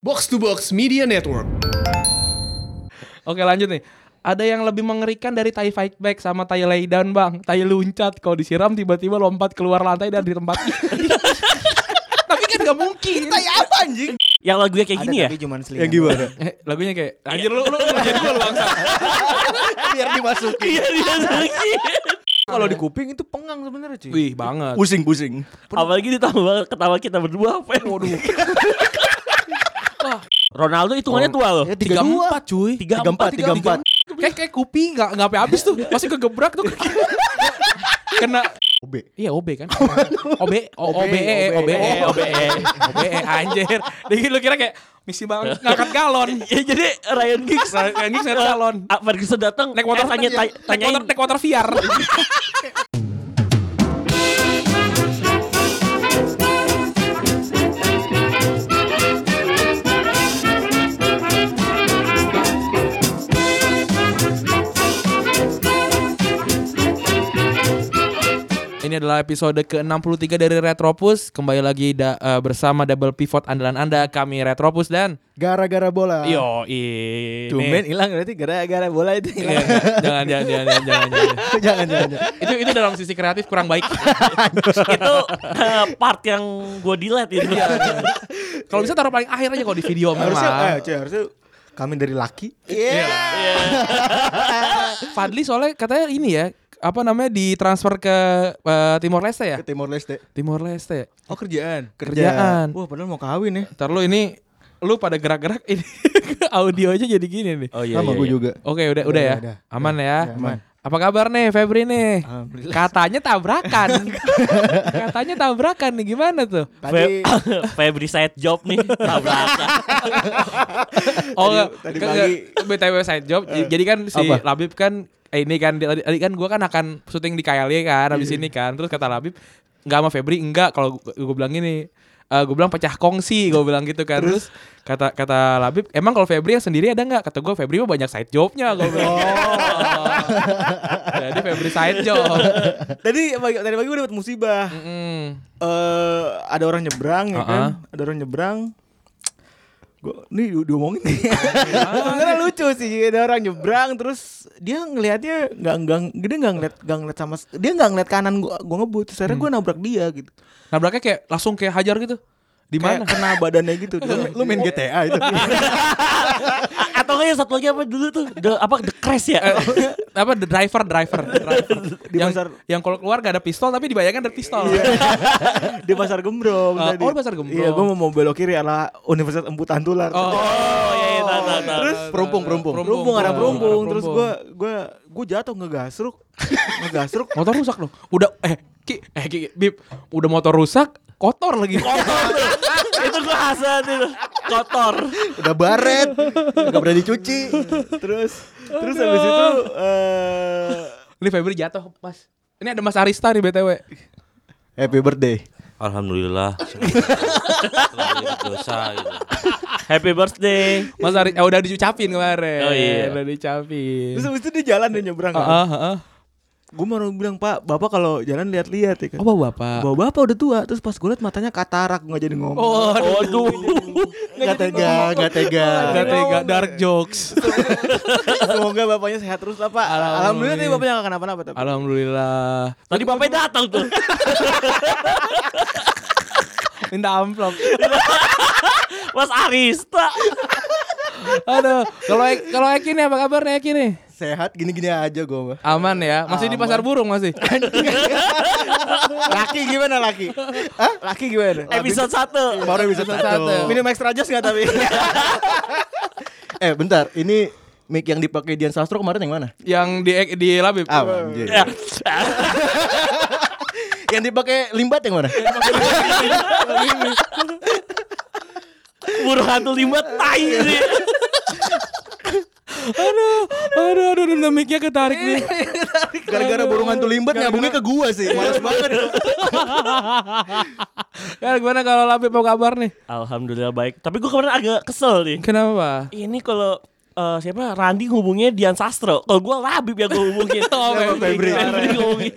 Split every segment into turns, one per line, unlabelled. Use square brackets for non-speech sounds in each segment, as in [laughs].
Box to Box Media Network.
[laughs]
Oke lanjut nih. Ada yang lebih mengerikan dari tai fight back sama tai lay down bang. Tai luncat kalau disiram tiba-tiba lompat keluar lantai dari tempat. Tapi kan gak mungkin.
apa anjing?
Yang lagunya kayak gini ya?
Tapi cuman selingan.
Yang gimana?
[laughs] Eh, lagunya kayak anjir lu lu ngerjain gua lu bangsa.
Biar dimasukin.
Iya dia lagi.
Kalau di kuping itu pengang sebenarnya cuy.
[laughs] Wih banget.
Pusing pusing.
Apalagi ditambah ketawa kita berdua apa ya? Waduh. [laughs] Ronaldo hitungannya tua loh.
Ya tiga dua.
cuy.
Tiga
Tiga empat tiga empat.
Kayak kayak kuping nggak nggak sampai habis tuh. Masih kegebrak tuh. [laughs] Kena
OB.
Iya OB kan. OB O- E, OBE
OB, OBE.
OBE OBE OBE E. anjir. Jadi lu kira kayak misi bang ngangkat galon.
[laughs] Ya jadi Ryan Giggs
Yang ini ngangkat galon.
Ah, Ferguson datang
Naik motor
eh, tanya
naik
tanya- tanyain
motor naik motor VR. Ini adalah episode ke-63 dari Retropus. Kembali lagi da- eh, bersama double pivot andalan Anda kami Retropus dan
Gara-gara bola.
yo ini.
Tumen hilang berarti gara-gara bola
Iya,
itu. hilang.
jangan, jangan, jangan, jangan, jangan, jangan.
[laughs] jangan jangan. jangan.
Itu itu dalam sisi kreatif kurang baik.
itu eh, part yang gue delete itu.
Kalau bisa taruh paling akhir aja kalau di video
Harusnya eh,
memang.
cuy, harusnya kami dari laki. Iya.
Fadli soalnya katanya ini ya, apa namanya ditransfer ke eh, Timor Leste ya?
Ke Timor Leste.
Timor Leste. ya?
Oh kerjaan.
Kerjaan.
Wah padahal mau kawin ya.
Ntar lu ini lu pada gerak-gerak ini [laughs] audionya jadi gini nih.
Oh
Sama gue juga.
Oke, udah udah ya.
udah.
Aman ya.
Udah, aman. Ah,
Apa kabar nih Febri nih?
Alhamdulillah.
Katanya
[laughs]
tabrakan. Katanya tabrakan nih gimana tuh?
Tadi
[laughs] Febri side job nih tabrakan.
Oh,
Tadi- tadi
enggak,
pagi. Eh,
enggak. BTW side job. j- Jadi kan si
Apa?
Labib kan eh, ini kan dia- tadi, tadi kan gua kan akan syuting di KLY kan habis
Iya.
ini kan. Terus kata Labib enggak sama Febri enggak kalau gua, gua bilang gini. eh gue bilang pecah kongsi gue bilang gitu kan terus, kata kata Labib emang kalau Febri yang sendiri ada nggak kata gue Febri mah banyak side jobnya gue bilang
Oh.
[laughs] jadi Febri side job
[laughs] [laughs] tadi pagi, tadi pagi gue dapat musibah.
Mm.
eh ada orang nyebrang ya kan? Ada orang nyebrang. Gue nih di- diomongin nih. [laughs] Sebenarnya lucu sih ada orang nyebrang terus dia ngelihatnya nggak nggak dia nggak ngeliat nggak ngeliat sama dia nggak ngeliat kanan gua gua ngebut terus akhirnya
Hmm.
gua nabrak dia gitu.
nabraknya Nah, kayak langsung kayak hajar gitu di
Kayak
mana Oh,
kena badannya gitu.
[laughs]
lu, lu main GTA itu.
A- Atau nggak yang satu lagi apa dulu tuh? The, apa The Crash ya?
Eh, apa the driver driver, driver.
[laughs] Di
yang
pasar-
yang kalau keluar gak ada pistol tapi dibayangkan ada pistol
Iya. di pasar Gembrong
Ah,
tadi.
oh, di Pasar Gembrong.
Iya, gua mau mau belok kiri ala Universitas Emputan Tular.
Oh iya iya
nah,
tahu, tahu, tahu.
Terus
perumpung, perumpung.
Perumpung Oh, ada
Perumpung,
perumpung.
ada
Terus
perumpung.
gua gua gua jatuh
[laughs]
ngegasruk. ngegasruk.
motor rusak loh udah eh ki eh ki bib udah motor rusak kotor lagi
Oh.
kotor
itu gue hasan itu kotor.
udah baret nggak pernah dicuci terus terus habis itu eh,
ini Febri jatuh mas ini ada Mas Arista nih btw
happy birthday
[laughs]
Alhamdulillah. dosa gitu.
Happy birthday.
Mas Ari eh, udah diucapin kemarin
Oh, iya.
udah diucapin
terus habis itu dia jalan dia nyebrang
Heeh, heeh.
gue mau bilang pak bapak kalau jalan lihat-lihat ya kan
oh bapak, bapak.
bapak bapak udah tua terus pas gue liat matanya katarak nggak jadi ngomong
Oh,
Waduh.
nggak tega nggak tega
gak tega dark jokes.
semoga bapaknya sehat terus lah pak alhamdulillah tadi bapaknya nggak kenapa-napa tapi
Alhamdulillah.
Tadi bapaknya datang tuh.
Minta amplop.
Mas Arista.
Aduh, kalau Ek- kalau Eki nih apa kabar nih Eki nih?
sehat gini-gini aja gue mah
Aman ya, masih di pasar burung
[laughs]
masih.
laki gimana laki Hah? laki gimana
Eh, Episode 1.
baru bisa
satu.
minum extra jus nggak tapi eh bentar ini mic yang dipakai Dian Sastro kemarin yang mana
Yang di di Labib.
Ah, anjir.
Ya.
yang dipakai limbat yang mana?
Buruh hantu lima tai sih.
Aduh, aduh, aduh, aduh, aduh, mic-nya ketarik nih.
Iya, Gara-gara burung hantu limbat nyambungnya ke gua
Iya.
sih. Males banget. iya.
Ya gimana kalau Labib apa kabar nih?
Alhamdulillah baik. Tapi gue kemarin agak kesel nih.
Kenapa?
Ini kalau eh, siapa Randi hubungnya Dian Sastro. Kalau gue Labib yang gue hubungin.
[laughs] Oh, Febri.
Febri gue hubungin.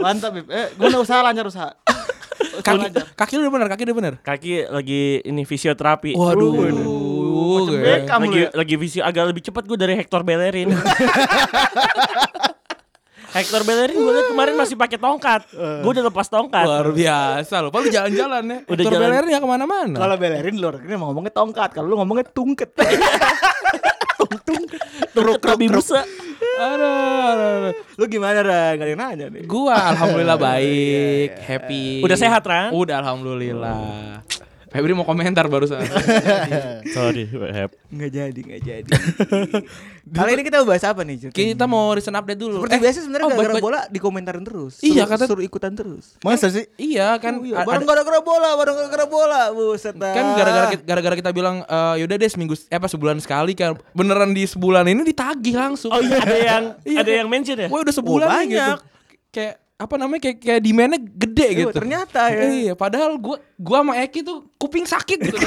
Mantap, Bib. Eh, gua enggak usah lancar usaha.
kaki kaki lu udah bener kaki udah bener
kaki lagi ini fisioterapi.
waduh
waduh.
gue.
Beckham lu
lagi
ya.
lagi visio agak lebih cepat gue dari Hector
[laughs]
Bellerin. Hector Bellerin gue liat kemarin masih pakai tongkat.
Eh.
Gue udah lepas tongkat.
luar biasa lu paling jalan-jalan ya
Udah
udah
jalan.
jalan ya kemana-mana
Kalau belerin luar negeri emang ngomongnya tongkat, kalau lu ngomongnya tungket. [laughs]
Terus tapi busa.
aduh, aduh, aduh.
lu gimana, Ra? Gak ada yang nanya nih.
Gua alhamdulillah
iya,
baik, happy.
Udah sehat, Ran?
Udah alhamdulillah. Febri mau komentar
[laughs]
barusan.
Sorry,
Nggak jadi, nggak jadi.
[laughs]
Kali ini kita bahas apa nih, Jun?
Kita mau recent update dulu. Eh,
Seperti biasa sebenarnya
oh,
gara-gara
ba- ba-
bola dikomentarin terus.
Iya,
Suruh-
kata-
suruh ikutan terus.
Masa sih?
Iya kan.
Oh iya,
a-
bareng
ada-
gara-gara bola, bareng gara-gara bola. Buset dah.
Eh.
kan gara-gara kita, gara-gara kita bilang eh, yaudah deh seminggu eh, apa sebulan sekali kan. Beneran di sebulan ini ditagih langsung.
Oh iya
[laughs]
ada yang
Iya,
ada
kayak-
yang mention ya?
Wah udah sebulan
Oh,
nih gitu.
banyak.
Kayak apa namanya kayak kayak demandnya gede
Eh,
Iya,
gitu.
ternyata ya.
Iya, padahal gua gua sama Eki tuh kuping sakit gitu.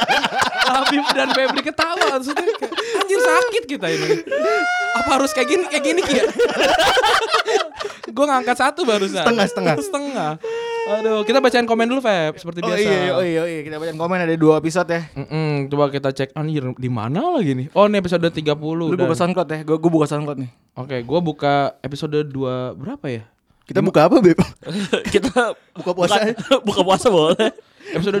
[laughs]
Habib dan Febri ketawa maksudnya kayak, anjir sakit kita ini. Apa harus kayak gini kayak gini Ki, [laughs] ya? gua ngangkat satu barusan.
Setengah, setengah.
Setengah. Aduh, kita bacain komen dulu, Feb, seperti
Oh
biasa.
iya, oh iya, oh iya. Kita baca komen ada dua episode ya.
Mm-mm, coba kita cek anjir di mana lagi nih? Oh, ini episode
Lu
30. dan-
buka soundcloud ya? Gue buka soundcloud nih.
Oke, gua buka episode 2 berapa ya?
Kita buka apa, Beb?
[laughs] Kita
Buka puasa.
buka, [laughs] buka puasa boleh.
Episode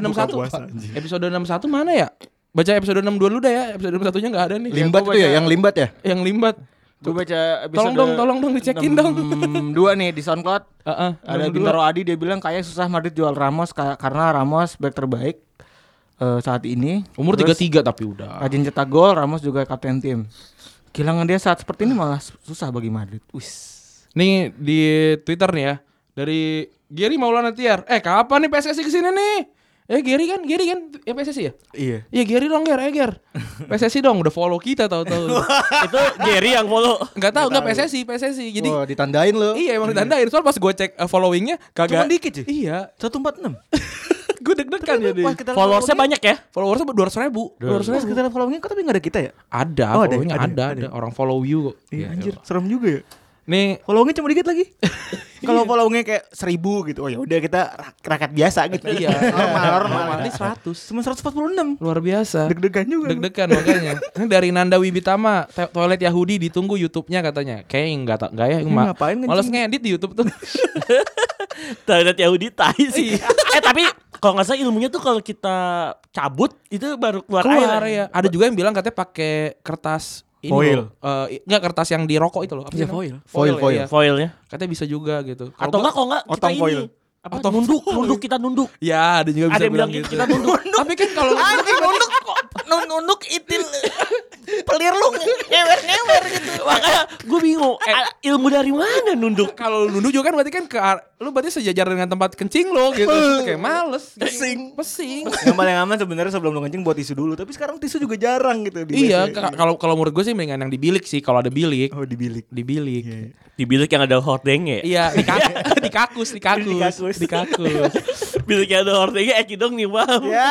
[laughs]
61.
puasa, anjing.
episode 61 mana ya? Baca episode 62 dulu dah ya. Episode 61-nya enggak ada nih.
Limbat
Gua
tuh ya,
baca-
yang limbat ya?
yang limbat.
Gue baca episode
Tolong dong, tolong dong dicekin dong.
enam Dua nih di soundcloud.
Heeh.
Ada Bintaro Adi dia bilang kayak susah Madrid jual Ramos ka- karena Ramos back terbaik eh, saat ini.
Umur
Terus
33 tapi udah.
Rajin cetak gol, Ramos juga kapten tim. Kehilangan dia saat seperti ini malah susah bagi Madrid. Wis.
Nih di Twitter nih ya. Dari Gary Maulana Tiar. Eh, kapan nih PSSI kesini nih? Eh Gary kan, Gary kan ya PSSI ya?
Iya.
Iya Gary dong, Ger, eh
[laughs]
Ger. PSSI dong, udah follow kita tahu-tahu.
Itu Gary yang follow.
Enggak tahu enggak PSSI, PSSI. Jadi
Wah, ditandain lo.
iya emang ditandain. Soal pas gue cek eh, followingnya kagak.
Cuman dikit, cuy.
Iya. [laughs]
[laughs] 146.
gue deg-degan jadi.
Pas kita
Followersnya banyak ya?
Followersnya dua ratus ribu.
Terus kita followingnya kok tapi gak ada kita ya?
Ada,
Oh, ada,
followingnya ada,
ada,
ada, orang follow you kok.
Iya
Ya,
anjir,
elah.
serem juga ya.
Nih,
Followingnya cuma dikit [laughs] lagi. Kalau followingnya kayak seribu gitu, oh ya udah kita rak- rakyat biasa gitu.
Iya.
[laughs] normal, normal. Iya.
ini seratus,
Cuma 146.
luar biasa.
Deg-degan juga.
Deg-degan
[laughs]
makanya. Ini dari Nanda Wibitama, "To- toilet Yahudi ditunggu YouTube-nya katanya. Kayaknya enggak tak enggak ya, ma-
ngapain ngencing?
Males ngedit di YouTube
[laughs]
tuh.
Toilet Yahudi tai sih. eh tapi kalau nggak salah ilmunya tuh kalau kita cabut itu baru keluar,
Keluar
air.
ya. Ada juga yang bilang katanya pakai kertas ini
Foil.
loh. Eh, i- enggak kertas yang di rokok itu loh. Apa sih
Iya,
namanya?
foil.
Foil,
Foil, foil.
iya.
Foilnya.
Katanya bisa juga gitu. Kalau
Atau
gua-
enggak kalau enggak kita
otong
ini.
foil.
Apa,
Otong
nunduk,
foil.
nunduk kita nunduk.
Ya, ada juga
Ada
bisa
yang bilang
bilang gitu.
kita nunduk.
[laughs] Tapi kan kalau
Anjing nunduk kok nun- nunduk itil pelir lu ngewer-ngewer gitu.
[laughs] Makanya gue bingung a- ilmu dari mana
[laughs]
nunduk.
kalau lu nunduk juga kan berarti kan ke ar- lu berarti sejajar dengan tempat kencing lo gitu. Terus kayak males. gitu.
Pesing.
Pesing.
Yang paling aman sebenarnya sebelum lu kencing buat tisu dulu, tapi sekarang tisu juga jarang gitu di WC.
iya, ka- kalau kalau menurut gue sih mendingan yang di bilik sih kalau ada bilik,
Oh, di bilik.
di bilik.
Di bilik yang ada hordengnya.
Iya, di, ka- di kakus, di kakus,
kakus.
di kakus.
[laughs] bilik yang ada hordengnya Eki dong nih paham.
Ya.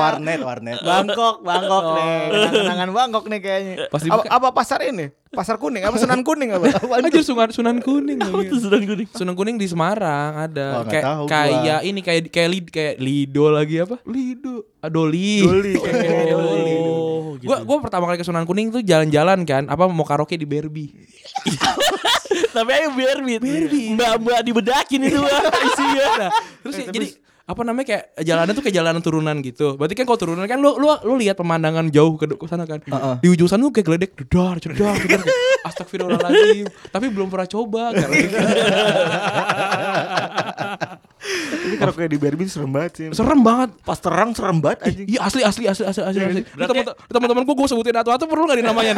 Warnet, warnet.
Bangkok, Bangkok
Oh.
nih.
Kenangan Bangkok nih kayaknya.
Pas
apa,
dibuka-
apa pasar ini? Pasar kuning, apa Sunan Kuning [laughs] apa? Apaan
Anjir sunan sunan kuning.
Apa
lagi.
tuh sedang gue nih?
Sunan kuning di Semarang ada.
Wah, nggak
kayak
tahu gua.
kayak ini kayak kayak lid kayak lido lagi apa? Lido. Adoli.
Doli,
[laughs]
kayak- kayak doli.
Oh, gitu.
Gua, gua pertama kali ke Sunan Kuning tuh jalan-jalan kan, apa mau karaoke di Berbi.
Tapi ayo Barbie. Mbak-mbak dibedakin itu Bang, isinya.
Nah, terus ya, jadi apa namanya kayak jalannya tuh kayak jalanan turunan gitu. Berarti kan kalau turunan kan lu lu lu lihat pemandangan jauh ke, ke sana kan. Di ujung sana tuh kayak geledek dedar, dedar, dedar. Kayak, [laughs] Astagfirullahaladzim. Tapi belum pernah coba kan.
Ini kalau kayak di Barbie serem banget sih.
Serem banget.
Pas terang serem banget anjing.
Iya asli asli asli asli asli. asli. Lu
Berarti-
temen- Teman-teman gua gua sebutin atau atau perlu enggak dinamain?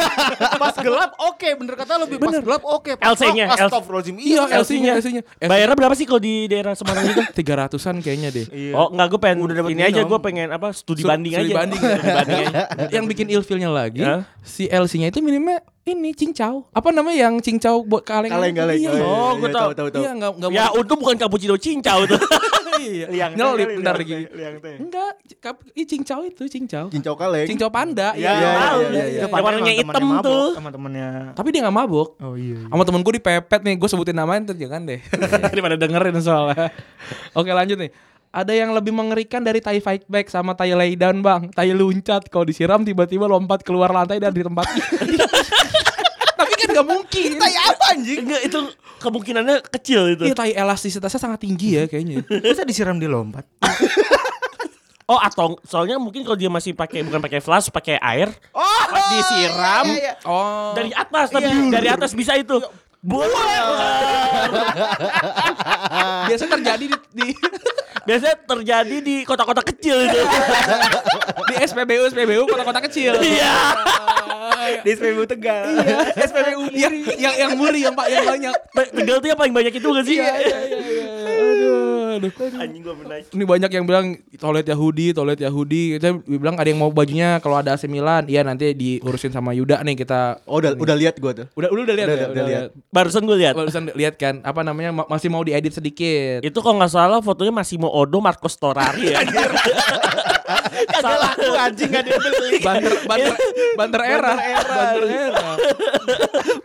pas gelap oke, bener kata lu, Bi. pas gelap oke. Pas
LC-nya,
terang,
L-
Astagfirullahaladzim.
Iya, LC-nya, LC-nya.
Bayarnya berapa sih kalau di daerah Semarang itu?
300-an kayaknya deh.
Iya.
Oh enggak gue pengen
Udah dapet
ini aja
minum.
gue pengen apa studi
Su-
banding aja.
studi banding.
[laughs] Studi banding aja.
yang bikin ilfilnya lagi
Ya.
si LC-nya itu minimnya ini cincau apa namanya yang cincau buat kaleng
Kaleng, kaleng.
Iya,
kaleng.
Oh,
Iya,
gua tahu.
tahu, tahu.
iya nggak nggak
Ya untung bukan cappuccino cincau tuh.
[laughs] iya.
Liang teh
nyelip
kali,
ntar
liang
gini
teh, liang teh.
enggak c- kap- ih, cincau itu cincau
Cincau kaleng.
cincau panda
Iya,
iya.
iya,
tahu.
iya, iya, iya.
Itu padahal warnanya hitam
teman-temannya mabok,
tuh.
Teman-temannya.
tapi dia nggak mabuk
Oh iya. iya.
sama
[laughs]
temen gue dipepet nih gue sebutin namanya ntar jangan deh daripada dengerin soalnya [laughs] oke lanjut nih ada yang lebih mengerikan dari Thai fight back sama Thai lay down bang Thai luncat kalau disiram tiba-tiba lompat keluar lantai dari tempat [laughs] tapi kan gak mungkin
Tai apa anjing?
Enggak itu kemungkinannya kecil itu.
Iya tai elastisitasnya sangat tinggi ya kayaknya
Masa disiram dia lompat?
Oh atau soalnya mungkin kalau dia masih pakai bukan pakai flash pakai air
Oh,
disiram.
iya, iya, iya.
Oh
dari atas tapi dari atas bisa itu. Boleh.
biasa terjadi di, di, [laughs]
Biasanya terjadi di kota-kota kecil itu.
di SPBU SPBU kota-kota kecil
Iya.
Di SPBU Tegal.
iya.
SPBU
yang yang yang muri yang pak yang banyak
Ba- Tegal tuh yang paling banyak itu gak sih?
iya. aduh aduh
Anjing gua pernah.
ini banyak yang bilang toilet Yahudi, toilet Yahudi. Kita bilang ada yang mau bajunya kalau ada AC Milan, iya nanti diurusin sama Yuda nih kita.
Oh, udah udah lihat [laughs] gua tuh.
Udah udah, udah lihat
Udah,
ya?
udah lihat.
Barusan gue lihat.
Barusan lihat kan apa namanya ma- masih mau diedit sedikit.
Itu kalau nggak salah fotonya masih mau Odo Marcos Torari ya. [laughs] salah
anjing gak dia beli.
Banter banter banter era. [laughs] Banter
[laughs]
era.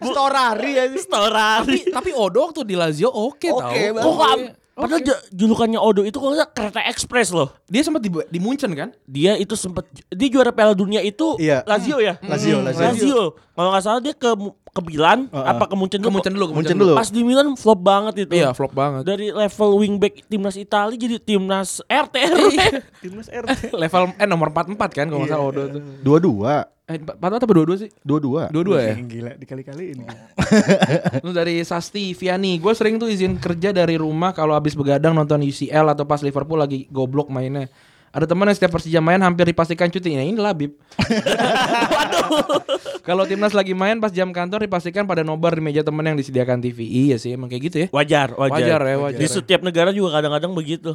Storari anjing.
Torari.
Tapi Odo tuh di Lazio oke tau.
Oke, Bang.
Oh, nggak- padahal ju- julukannya Odo itu kalau nggak salah kereta ekspres loh.
Dia sempat di, di Munchen kan?
Dia itu sempet dia juara Piala Dunia itu
Iya.
Lazio ya.
Mm-hmm.
Lazio, Lazio.
Lazio. Kalau nggak salah dia ke ke Milan apa ke Munchen
Ke
dulu?
Munchen dulu, ke
Munchen dulu.
Pas di Milan flop banget itu.
Iya, flop banget.
Dari level wingback timnas Italia jadi timnas RT
Iya.
Timnas RT.
Level eh nomor 44 kan kalau nggak salah Odo tuh.
Iya. Dua-dua.
Eh 44 apa 22 sih?
Dua-dua.
Dua-dua ya.
Gila dikali-kaliin.
Terus dari Sasti Viani, gue sering tuh izin kerja dari rumah kalau habis begadang nonton UCL atau pas Liverpool lagi goblok mainnya. Ada teman yang setiap Persija main hampir dipastikan cuti. Nah, ini
[laughs]
Labib. kalau timnas lagi main pas jam kantor dipastikan pada nobar di meja temen yang disediakan TV. Iya sih, emang kayak gitu ya.
Wajar, wajar.
Wajar ya, wajar.
Di setiap negara juga kadang-kadang begitu.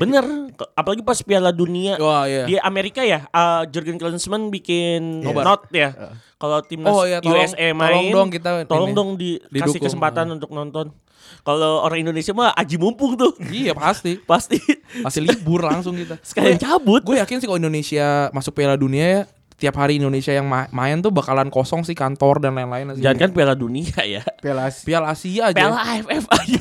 Bener. Ke- Apalagi pas Piala Dunia.
Wah, iya.
Di Amerika ya, uh, Jurgen Klinsmann bikin
Nobar.
not ya. Kalau timnas
Oh, iya, tolong-
USA main,
tolong dong kita
tolong
ini,
dong dikasih
didukung. Iya.
kesempatan untuk nonton. Kalau orang Indonesia mah aji mumpung tuh.
iya, [laughs] pasti. Iya.
Pasti
Pasti libur langsung kita.
[laughs] sekalian cabut.
Gue yakin sih kalau Indonesia masuk Piala Dunia ya, tiap hari Indonesia yang ma- main tuh bakalan kosong sih kantor dan lain-lain. sih.
Jangan kan Piala Dunia ya.
Pelas.
Piala Asia aja.
Piala AFF aja.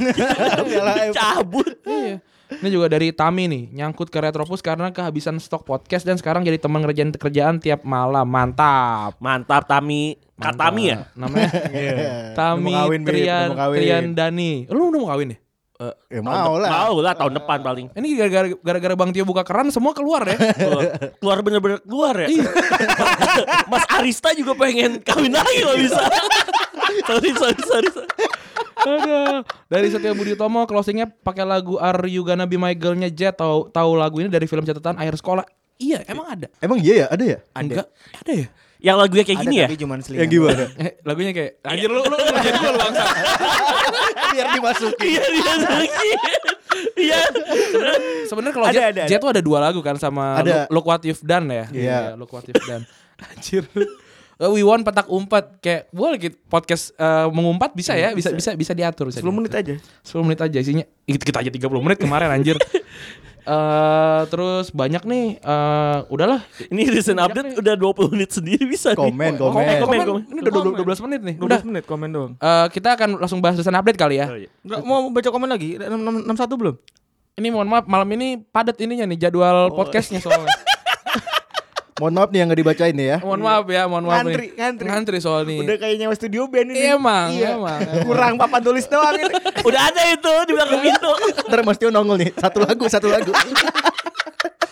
[laughs] cabut.
Iya. Ini juga dari Tami nih, nyangkut ke Retropus karena kehabisan stok podcast dan sekarang jadi teman ngerjain kerjaan tiap malam. Mantap.
Mantap Tami. Kak Tami ya?
[laughs]
Namanya Tami
Iya. Udah mau kawin, Bib.
Trian
Udah mau kawin.
Trian Dani. Lu udah mau kawin ya?
Ya mau lah.
Mau lah tahun depan paling.
Ini gara-gara gara-gara Bang Tio buka keran semua keluar ya.
Keluar. keluar bener-bener keluar ya [laughs] Mas Arista juga pengen kawin lagi kalau bisa sorry sorry sorry
Aduh. Dari Setia Budi Tomo closingnya pakai lagu Are You Gonna Be My Girl-nya Jet tahu tahu lagu ini dari film catatan Air Sekolah. Iya, emang ada.
Emang iya ya, ada ya? Iya.
Enggak, ada ya?
yang lagunya kayak gini ya
tapi cuman selingan.
Yang gimana?
Eh, lagunya kayak anjir lu lu ngerjain gua lu bangsa.
[laughs] Biar dimasukin.
[laughs] iya iya lagi iya
Sebenarnya kalau
Ada,
Jet,
ada, ada.
Jet tuh ada dua lagu kan sama
Ada.
Look, Look What You've Done ya.
Iya.
Look What You've Done. [laughs] Anjir. Eh, We want petak umpet kayak boleh gitu podcast eh, mengumpat bisa ya, bisa bisa bisa diatur bisa.
10 menit
diatur.
aja.
10 menit aja isinya. Ih, Kita aja 30 menit kemarin anjir. Eh terus banyak nih eh udahlah
ini recent update udah 20 menit sendiri bisa nih.
Komen, komen.
Eh, komen, komen.
ini udah 12, 12 menit nih.
12
Udah
menit komen doang.
Eh kita akan langsung bahas desain update kali ya.
Oh, iya.
Enggak mau baca komen lagi. 61 belum?
Ini mohon maaf malam ini padat ininya nih jadwal podcastnya soalnya.
Mohon maaf nih yang gak dibacain nih ya.
mohon maaf ya, mohon maaf nih.
Ngantri, ngantri.
Ngantri soal nih.
Udah kayak nyawa studio band ini.
Iya, emang, emang, emang.
Kurang papan tulis doang ini.
udah ada itu di belakang pintu
Ntar Mas Tio nongol nih. Satu lagu, satu lagu.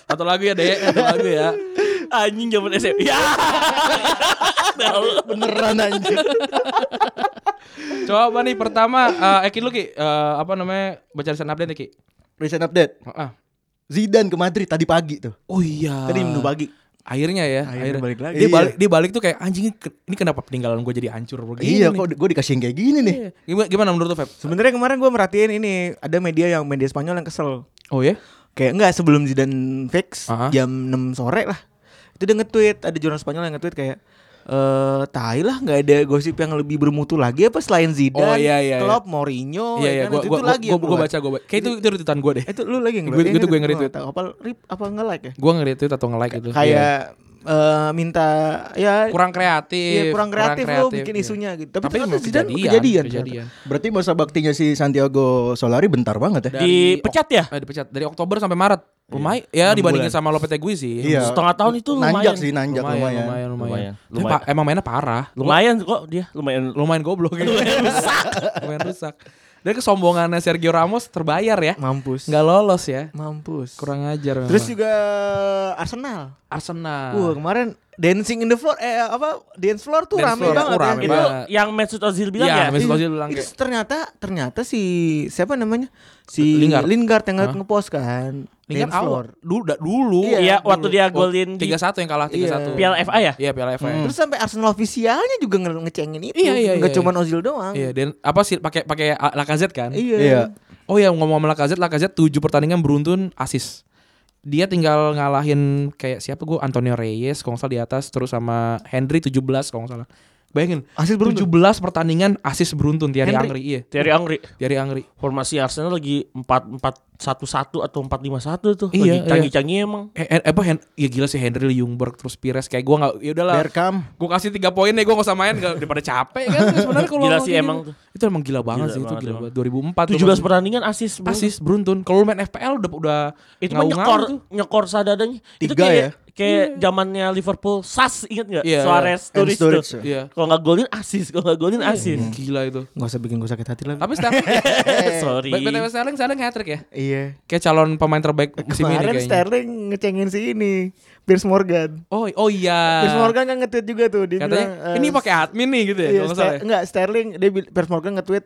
Satu lagu ya deh, satu lagu ya.
anjing zaman SMP ya
[laughs] Beneran anjing.
Coba nih pertama, eh Eki lu Ki, eh, apa namanya baca desain update ya Ki?
Recent update.
Ah.
Zidane ke Madrid tadi pagi tuh.
Oh iya.
Tadi menu pagi.
Akhirnya ya.
Akhirnya balik lagi.
Dia
Iya.
balik, dia balik tuh kayak anjing ke- ini kenapa peninggalan gue jadi hancur begini?
Iya,
nih?"
kok gue dikasih yang kayak gini nih.
Iya. Gimana, gimana menurut lu Feb?
Sebenarnya kemarin gue merhatiin ini ada media yang media Spanyol yang kesel.
Oh ya?
Kayak enggak sebelum Zidane fix
Aha.
jam 6 sore lah. Itu dia nge-tweet, ada jurnal Spanyol yang nge-tweet kayak eh tai lah nggak ada gosip yang lebih bermutu lagi apa selain Zidane,
Oh, iya, iya,
Klopp, Mourinho,
Iya iya,
ya kan?
gue
Itu-
gue
itu lagi yang
gue
keluar.
baca gue. Kayak itu itu retweetan gue deh.
Eh, Itu lu lagi yang
Gua- itu gua yang
nge-tweet?
Iya.
Gua nggak
nge-retweet.
tahu. Apa rip apa nge-like ya?
Gue nge-retweet atau nge-like gitu.
kayak eh, minta ya
Iya, kurang kreatif.
ya, kurang kreatif, lo bikin
iya.
isunya gitu. Tapi,
Tapi,
ternyata
memang
Zidane
kejadian,
kejadian.
kejadian.
Berarti masa baktinya si Santiago Solari bentar banget ya.
Dari
Dipecat ya?
Eh, dipecat dari Oktober sampai Maret. Lumayan ya dibandingin sama Lopetegui sih.
Setengah tahun itu lumayan.
Nanjak sih, nanjak
lumayan, lumayan,
lumayan.
lumayan,
Lumayan,
Tapi
lumayan.
pa- emang mainnya parah.
Lumayan kok dia, lumayan
lumayan goblok gitu. lumayan rusak lumayan rusak dan kesombongannya Sergio Ramos terbayar ya
Mampus.
nggak lolos ya
Mampus.
kurang ajar memang.
Terus juga Arsenal.
Arsenal
Wah, kemarin dancing in the floor eh apa dance floor tuh
Dance
rame
floor,
banget
oh, rame
ya.
itu
banget.
yang Mesut Ozil bilang
Iya,
ya.
Mesut
Iya.
Ozil bilang
Itu
kayak-
ternyata ternyata si siapa namanya? Si
Lingard.
yang
Hah?
ngepost kan.
Lingard
dance floor.
awal dulu da- dulu
Iya, waktu dia golin di-
tiga satu yang kalah tiga satu
Piala FA ya?
iya Piala FA
Terus sampai Arsenal ofisialnya juga nge- ngecengin itu.
Iya, iya,
Nggak
iya,
cuman Ozil doang.
iya dan apa sih pakai pakai A- Lacazette kan
Iya.
Iya.
oh ya ngomong sama Lacazette Lacazette tujuh pertandingan beruntun asis dia tinggal ngalahin kayak siapa gue Antonio Reyes kalau nggak salah di atas terus sama Henry 17 kalau nggak salah bayangin
Asis beruntun.
17 pertandingan asis beruntun Thierry
Henry.
Angri iya
Thierry Angri
Thierry Angri
formasi Arsenal lagi 4-4-1-1 atau 4-5-1 tuh
Iya,
lagi canggih-canggih emang.
Eh, eh, apa Hen ya gila sih Henry Ljungberg terus Pires kayak gua nggak ya udahlah
Berkam.
gua kasih tiga poin deh gua nggak usah main nggak- daripada capek kan sebenarnya kalau
Gila
mau
sih
gini-
emang tuh.
itu emang gila banget
Gila
sih itu
banget
gila
emang.
banget 2004 tuh
17
masih-
pertandingan asis bro.
asis beruntun kalau lu main FPL udah udah
itu mah
ngawang-ngawang
nyekor
tuh. ya?
nyekor sadadanya itu
Tiga
kayak kayak zamannya Liverpool Sas inget nggak
Iya,
Suarez
And
Sturridge
Sturridge.
tuh
iya
kalau nggak golin asis kalau nggak golin
Iya.
asis
gila itu
Gak usah bikin gue sakit hati lagi.
tapi Sterling Eh,
[laughs] sorry
BTW Sterling Sterling hat-trick ya
Iya.
kayak calon pemain terbaik musim ini
Kemarin
kayaknya
Sterling ngecengin si ini Piers Morgan.
oh oh iya
Piers Morgan kan nge-tweet juga tuh dia
katanya
bilang, eh,
ini pakai admin nih gitu ya
iya,
kalau nggak
Ster-
salah ya.
enggak Sterling dia bil- Piers Morgan nge-tweet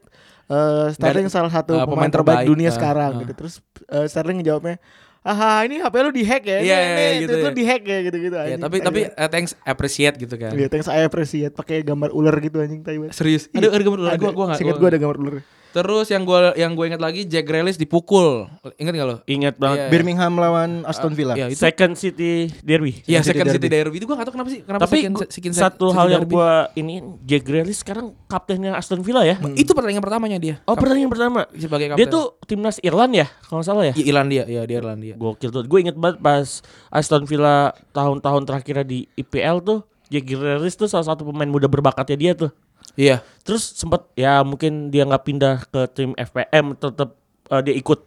eh, Sterling
Dari-
salah satu
eh,
pemain,
pemain
terbaik,
terbaik,
dunia
eh,
sekarang
eh.
gitu. Terus eh, Sterling jawabnya, "Aha, ini HP lu dihack ya.
Iya,
ini,
iya,
ini,
gitu
itu
ya."
dihack ya gitu-gitu
Ya,
anjing.
tapi tapi eh, thanks appreciate gitu kan
Iya, thanks I appreciate pakai gambar ular gitu anjing tai banget.
Serius. Ada ada gambar ular.
Ada,
Gua gua enggak.
seingat gua ada gambar ular.
Terus yang gua yang gua ingat lagi Jack Grealish dipukul. Ingat enggak lo?
ingat
Iya.
banget
Birmingham lawan Aston Villa.
Iya, itu.
Second City Derby
Iya, second city derby itu gua enggak tahu kenapa sih. Kenapa
tapi
second-
gua-
second-
satu
second
hal yang
derby.
gua ini Jack Grealish sekarang kaptennya Aston Villa ya
itu pertandingan pertamanya dia.
oh pertandingan pertama
sebagai kapten.
dia tuh timnas Irland ya kalau nggak salah ya
Iya, Irlandia, ya di Irlandia.
Gokil tuh. Gue inget banget pas Aston Villa tahun-tahun terakhirnya di IPL tuh. Jack Grealish tuh salah satu pemain muda berbakatnya dia tuh.
Iya.
Terus sempat ya mungkin dia nggak pindah ke tim FPM tetap eh, dia ikut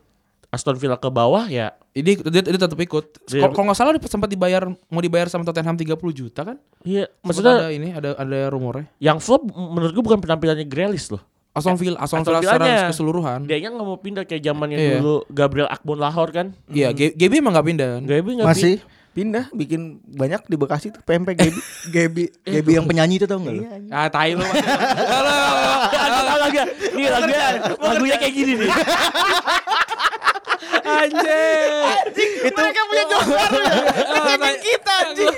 Aston Villa ke bawah ya.
Ini dia, dia tetap ikut.
Iya.
Kalau kalau nggak salah dia sempat dibayar mau dibayar sama Tottenham 30 juta kan?
Iya,
Sempat ada
maksudnya
ini ada ada rumornya.
yang flop menurut gue bukan penampilannya Grealish loh.
Aston Villa, Aston
Aston
Villa secara
Villanya.
keseluruhan.
Dia nggak mau pindah kayak zamannya
Hmm. Iya.
dulu Gabriel Akbon Lahore kan.
Iya, G- GB emang nggak pindah. kan?
Gabi nggak
Masih
Pindah bikin banyak di Bekasi tuh PMP Gaby. Iya,
Gaby Gaby yang penyanyi itu tau enggak lu?
Ah, tai lu. Halo. kan?
Tahu lagi ya? Nih lagunya, lagunya kayak gini nih.
Anjir.
itu mereka [laughs] punya gambar ya.
Eh,
Ngecengin kita anjing.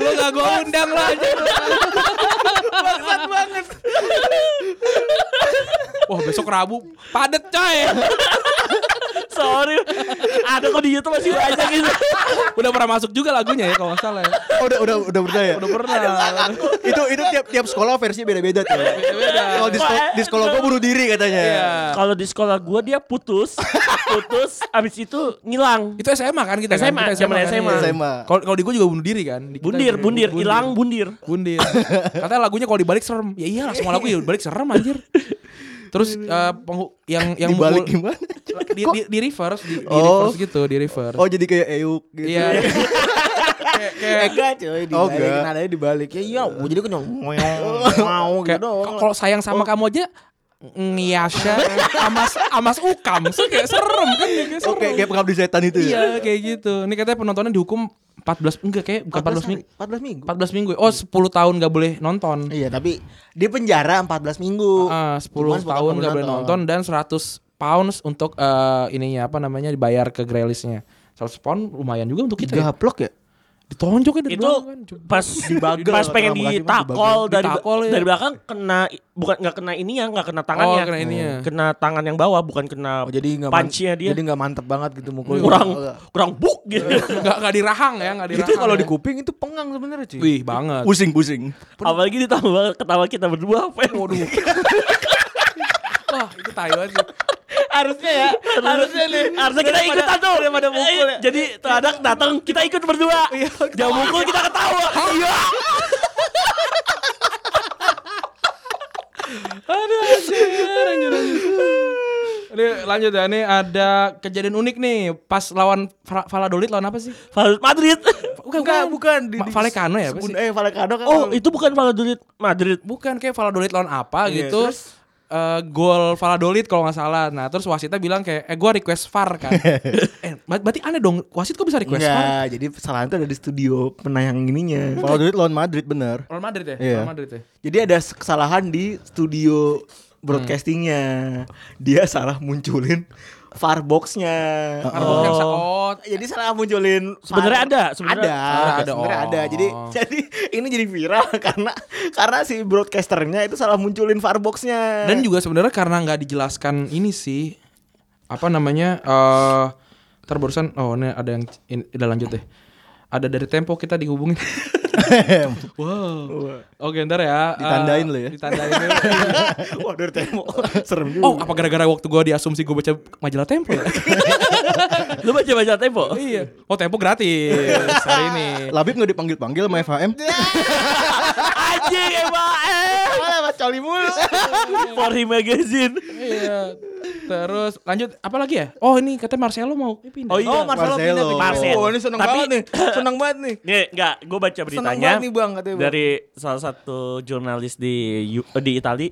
Lu gak gue undang lah anjing.
Bangsat banget.
Wah besok Rabu Padet coy
Sorry, ada kok di YouTube masih banyak gitu.
Udah pernah masuk juga lagunya ya kalau nggak salah ya.
Oh, udah udah udah pernah ya?
Udah pernah
itu itu tiap tiap sekolah versinya beda-beda tuh. Kalau di, sekol- di sekolah gua bunuh diri katanya.
Iya.
Kalau di sekolah gua dia putus, putus, abis itu ngilang.
Itu SMA kan kita
SMA,
kan? Kita
zaman
kan?
SMA.
Iya.
SMA.
Kalau kalau di gue juga bunuh diri kan Di kita
Bundir,
juga
bundir, hilang bundir.
Bundir Katanya lagunya kalau dibalik serem Ya iyalah semua lagu ya balik serem anjir Terus eh, penghu- yang yang
Dibalik
mukul-
gimana?
di, di, di reverse di, di
Oh.
reverse gitu di reverse
[laughs] Oh, jadi kayak euk gitu.
Iya
Eh enggak coy
Oh,
dibalik
enggak.
nadanya dibalik ya iya gue jadi kenyang mau
Kayak,
gitu doang.
Kalau sayang sama kamu aja Ngiasha Amas Amas ukam So kayak serem kan ya, kayak
Oke, Oh, kayak pengabdi setan itu ya.
Iya kayak gitu. Ini katanya penontonnya dihukum 14 enggak kayak bukan 14 minggu.
14 minggu
14 minggu. Oh, 10 tahun gak boleh nonton.
iya tapi di penjara 14 minggu
Ah, 10
Cuman
tahun
nggak
gak boleh nonton dan 100 pounds untuk eh, ininya apa namanya dibayar ke Grealishnya. 100 pound lumayan juga untuk kita. Ya.
gaplok ya
Ditonjok ya dari
Itu
belakang kan. Coba.
pas pas pengen
Terima kasih, Mas,
ditakol dari
Ditakol, ya.
dari belakang kena bukan nggak kena ininya, nggak kena tangannya.
Oh, kena ininya.
Kena tangan yang bawah bukan kena
oh, jadi nggak man-
punch-nya dia.
jadi nggak mantep banget gitu mukul
kurang kurang buk gitu.
[laughs] Enggak enggak dirahang ya, enggak dirahang.
itu kalau
ya.
di kuping itu pengang sebenarnya cuy
Wih, banget.
Pusing-pusing.
Apalagi [laughs] ditambah ketawa kita berdua apa ya?
Waduh. Wah, itu tai banget sih.
harusnya ya harusnya nih
Harusnya kita ikutan tuh.
daripada mukul ya. Iya,
Eh, Jadi terhadap datang kita ikut berdua. Dia mukul kita ketawa. Iya.
Ini lanjut ya, ini ada kejadian unik nih pas lawan Fra- Valladolid lawan apa sih?
Valladolid Madrid.
Bukan,
bukan bukan di,
Ma- Vallecano ya apa sih?
Sebun- eh Vallecano kan
Oh, itu bukan Valladolid
[laughs]
Madrid.
Bukan kayak Valladolid lawan apa
Iya,
gitu.
terus?
Eh, gol Valladolid kalau nggak salah. Nah, terus wasitnya bilang kayak eh gua request VAR kan. eh, ber- berarti aneh dong. Wasit kok bisa request VAR?
Enggak, jadi kesalahan itu ada di studio penayang ininya.
Hmm. Kalau duit lawan Madrid bener.
Real Madrid ya?
Iya.
Real Madrid ya.
Jadi ada s- kesalahan di studio broadcastingnya. Dia salah munculin far boxnya.
Uh-uh.
Oh. Yang sa- oh,
Jadi salah munculin. far-
Sebenarnya ada, sebenarnya-
ada,
Sebenarnya ada,
sebenarnya
oh.
ada. Jadi jadi ini jadi viral [laughs] karena karena si broadcasternya itu salah munculin far boxnya. [laughs]
Dan juga sebenarnya karena nggak dijelaskan ini sih apa namanya eh ntar barusan oh ini ada yang ini udah lanjut deh. Ada dari Tempo kita dihubungin. wow. Oke ntar ya. eh,
Ditandain lo ya.
Ditandain dulu.
Wah, dari temo. [laughs] Serem juga.
Hmm.
oh apa gara-gara waktu gua diasumsi gua baca majalah Tempo ya?
[laughs] Lu baca baca tempo.
iya. Oh Tempo gratis hari ini.
Labib nggak dipanggil-panggil sama FHM.
Iya.
Anjing emang eh.
Malah Mas Coli mulu.
For him magazine.
Iya. Terus lanjut apa lagi ya? Oh ini katanya Marcelo mau pindah.
Oh iya.
Oh, Marcelo pindah
Marcelo.
ke
Marcel.
Oh, ini seneng
Tapi-
banget nih. Seneng banget nih.
Nih, enggak, gue baca beritanya
banget nih, Bang, katanya, Bang.
dari salah satu jurnalis di Yu- eh, di Itali,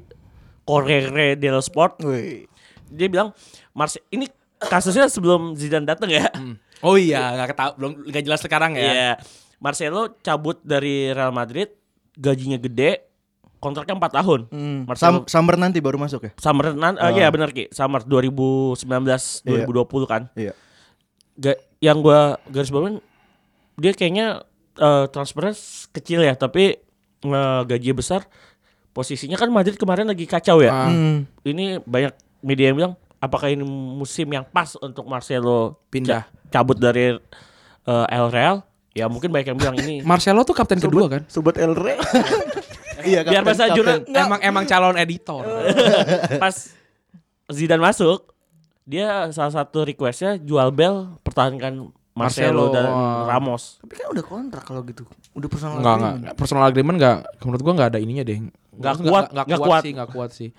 Corriere dello Sport.
Wih.
Dia bilang, Marse ini kasusnya sebelum Zidane datang ya.
Hmm.
Oh iya, nggak ketau, belum nggak jelas sekarang ya.
[laughs] Iya. Marcelo cabut dari Real Madrid, gajinya gede, kontraknya 4 tahun. Marcelo
Hmm. Sam Summer nanti baru masuk ya.
summer nan, eh, iya benar Ki, summer 2019
Iya.
2020 kan.
Iya.
Ga- yang gua garis bawahin dia kayaknya eh, transfernya s- kecil ya, tapi gaji gajinya besar. Posisinya kan Madrid kemarin lagi kacau ya.
Ah,
Ini banyak media yang bilang apakah ini musim yang pas untuk Marcelo
Pindah.
ca- cabut dari eh, El Real? Ya mungkin banyak yang bilang
[laughs]
ini
Marcelo tuh kapten kedua kan?
Sobat El Rey.
Iya,
biar bahasa jurnal
Emang emang calon editor.
[laughs] Eh, pas Zidane masuk dia salah satu requestnya jual bel pertahankan Marcelo,
Marcelo.
dan Ramos
[laughs] Tapi kan udah kontrak kalau gitu. Udah personal
Enggak,
agreement.
enggak. Personal agreement enggak menurut gua enggak ada ininya deh.
Nggak kuat,
enggak
nggak
kuat,
kuat.
sih, enggak kuat sih.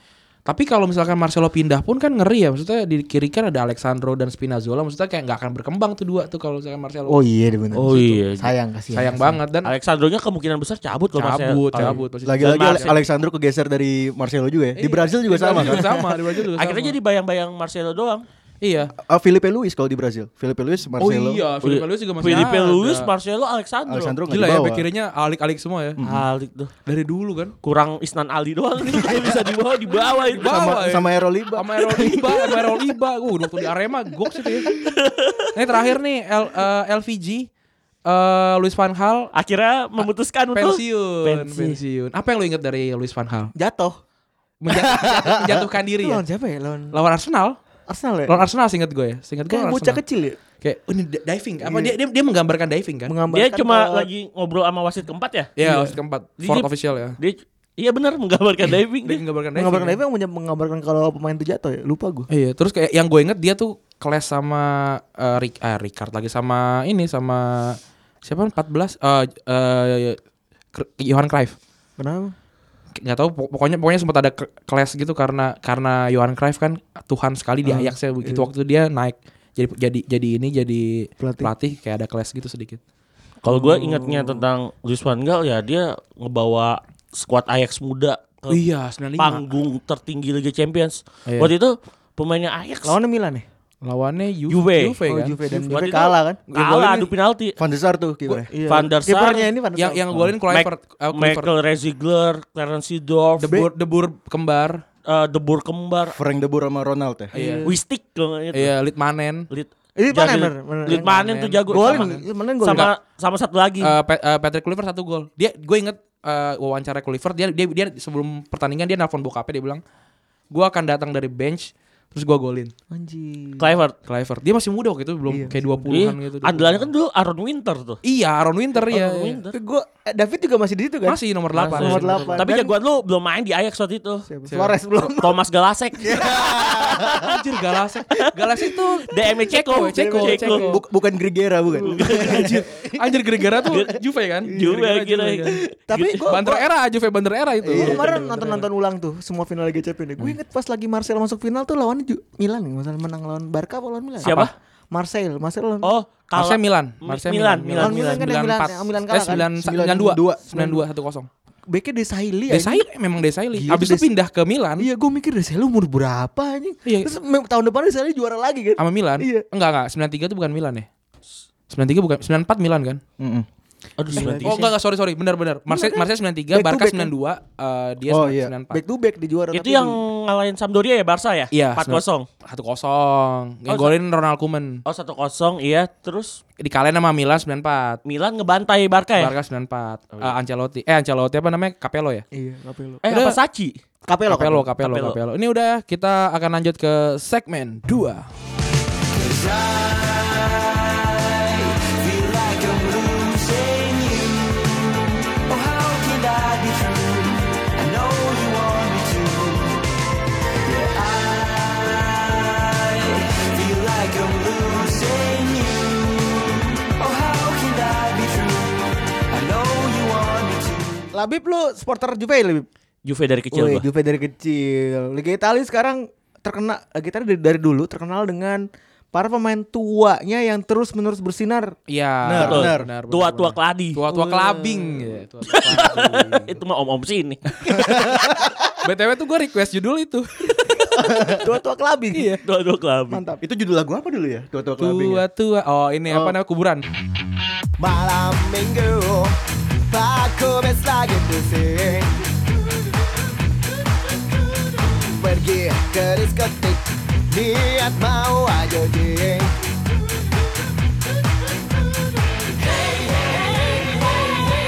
Tapi kalau misalkan Marcelo pindah pun kan ngeri ya. Maksudnya di kiri kan ada Alexandro dan Spinazzola. Maksudnya kayak nggak akan berkembang tuh dua tuh kalau misalkan Marcelo.
Oh iya dia bener.
Oh iya.
Sayang kasihan.
sayang banget dan
Alexandronya kemungkinan besar cabut kalau
cabut,
Marcelo
cabut. Posisi-
Lagi-lagi
Dan
Ale-
Marcelo.
Alexandro kegeser dari Marcelo juga ya. Di Brazil juga
Iya, Di Brazil
sama kan.
juga sama, di Brazil juga sama.
akhirnya jadi bayang-bayang Marcelo doang
iya.
Ah, Felipe Luis kalau di Brazil. Felipe Luis,
Oh
Marcelo.
iya, Felipe Luis juga masih
Felipe
ada.
Luis Marcelo Alexandro,
Alexandro nggak
Gila ya
dibawa.
bek kirinya alik-alik semua ya.
Alik tuh
Dari dulu kan.
kurang Isnan Ali doang nih Kalau bisa dibawa dibawa itu
Dibawa.
sama
ya.
sama Eroliba.
Sama Erol Iba, sama Erol Iba. Gua waktu di Arema gok sih ya. Ini terakhir nih L, eh, LVG eh Luis Van Gaal
akhirnya memutuskan untuk
pensiun,
Pensi.
pensiun. Apa yang lo ingat dari Luis Van Gaal?
Jatuh.
Menjat- menjatuhkan diri
Itu
ya.
Iya.
lawan siapa ya? Lawan
Lawan Arsenal,
Arsenal ya?
lawan Arsenal seingat gue ya. Seingat gue
Kayak
lawan
bocah
Arsenal.
kecil ya?
Kayak oh, ini di- diving. Apa dia, dia dia menggambarkan diving kan?
dia
Menggambarkan
cuma
kalau-
lagi ngobrol sama wasit keempat ya
Iya, wasit keempat,
Dia-
fourth official ya.
dia iya benar menggambarkan diving
Dia
dia.
menggambarkan diving.
menggambarkan
ya.
apa yang punya menggambarkan kalau pemain itu jatuh ya? Lupa gue.
Iya, terus kayak yang gue inget dia tuh kelas sama eh, Rick, ah, Ricard lagi sama ini sama siapa 14 eh eh, Kr- Johan Cruyff.
Kenapa?
nggak tahu pok- pokoknya pokoknya sempat ada ke- kelas gitu karena karena Johan Cruyff kan Tuhan sekali di
Ah,
Ajax ya begitu waktu itu dia naik jadi jadi jadi ini jadi pelatih,
iya. Pelatih.
kayak ada kelas gitu sedikit.
Kalau gue ingatnya tentang Luis Van Gaal ya dia ngebawa skuad Ajax muda ke
iya, 95.
panggung tertinggi Liga Champions.
Iya.
Waktu itu pemainnya Ajax
Lawannya Milan ya?
Lawannya Ju-
Juve.
Juve,
Oh
kan.
Juve dan
Waktu
Juve
itu
kalah kan?
kalah adu penalti.
Van der Sar tuh kipernya.
Iya.
Van der Sar,
Kipernya ini Van der
Yang
Sar.
yang golin Kluivert, eh, Kluivert.
Michael Rezigler, Clarence Seedorf,
De Boer, De Boer kembar.
eh, De Boer kembar,
Frank De Boer sama Ronald ya.
Iya.
Wistik kalau nggak ingat.
Iya, Litmanen.
Lid
Ini
jadi-
Manen, bener, bener.
Lidmanen tuh jago
Golin,
sama, kan?
Lidmanen golin.
sama sama satu lagi.
Eh, Pe- eh, Patrick Kluivert satu gol. Dia gue inget eh, wawancara Kluivert dia dia dia sebelum pertandingan dia nelpon bokapnya dia bilang gue akan datang dari bench terus gua golin
Anjing.
Clifford.
ke Clifford. Dia masih muda waktu itu belum
Iya,
kayak
masih
20-an gitu.
Andalannya kan dulu Aaron Winter tuh.
Iya, Aaron Winter ya.
Aaron
iya.
Winter.
Gue David juga masih di situ kan?
Masih nomor 8.
Nomor delapan.
Tapi
Dan-
jagoan lu belum main di Ajax waktu itu.
Siapa? Iya,
Siapa?
Flores belum. [laughs]
Thomas Galasek. [laughs]
Anjir Galas. Galas itu
DM Ceko,
Ceko, Ceko.
Buk- bukan Grigera bukan.
anjir. Anjir gara-gara tuh Juve kan?
Juga
Gara-gara
kira.
Juve kan?
Tapi
Gitu.
gue
Banter era Juve banter era itu.
Gue kemarin nonton-nonton ulang tuh semua final Liga Champions. Gue inget pas lagi Marcel masuk final tuh lawannya Ju- Milan nih, Marcel menang lawan Barca apa lawan Milan?
Siapa?
Apa? Marcel, Marcel lawan
Oh, kalau
Marseille Milan,
Mi-
Marseille
Milan, Milan,
Milan,
Milan.
kan yang Milan-
94.
yang Milan
Eh,
kalah kan?
92, 92 1-0.
Beke Desailly anjing.
Desai memang Desailly.
Iya, Gila,
Abis itu
Des-
pindah ke Milan
Iya, gue mikir Desailly umur berapa anjing?
Iya.
Terus me- tahun depan Desailly juara lagi kan?
sama Milan.
Iya.
Enggak enggak, 93 itu bukan Milan ya. 93 bukan 94 Milan kan?
Aduh,
Milan.
93.
Oh enggak enggak sorry sorry benar benar. Marseille Marseille 93,
Iya kan? Back to
Barca
back,
92, eh, dia
Oh, iya.
94.
Back to back di juara
Itu
tapi
yang
di-
ngalahin Sampdoria ya Barca ya?
Iya,
4-0.
satu kosong yang
Oh,
golin Ronald Koeman
Oh 1-0 iya Terus
di kalian sama Milan 94
Milan ngebantai Barca ya?
Barca 94
Oh,
Eh, Ancelotti eh Ancelotti apa namanya Capello ya
Iya, Capello.
Eh
Udah.
apa Sachi?
Capello.
Capello
Capello.
Capello
Capello.
Capello ini udah kita akan lanjut ke segmen 2
Labib lu supporter Juve ya, Labib?
Juve dari kecil
Woi,
gua.
Juve dari kecil. Liga Italia sekarang terkena Liga Italia dari, dari dulu terkenal dengan para pemain tuanya yang terus-menerus
[laughs]
bersinar.
Iya
Benar,
betul.
benar.
Benar, benar,
Tua-tua
benar.
keladi.
tua-tua kelabing ya, tua-tua kelabing. [laughs]
[laughs] Itu mah om-om sini.
BTW tuh gue request judul itu
Tua-tua kelabing.
Iya. Tua-tua keladi.
Mantap.
Itu judul lagu apa dulu ya? Tua-tua kelabing. ya?
Tua-tua Oh ini apa namanya kuburan
Malam minggu Aku bes lagi pusing Pergi ke diskotik Niat mau aja jing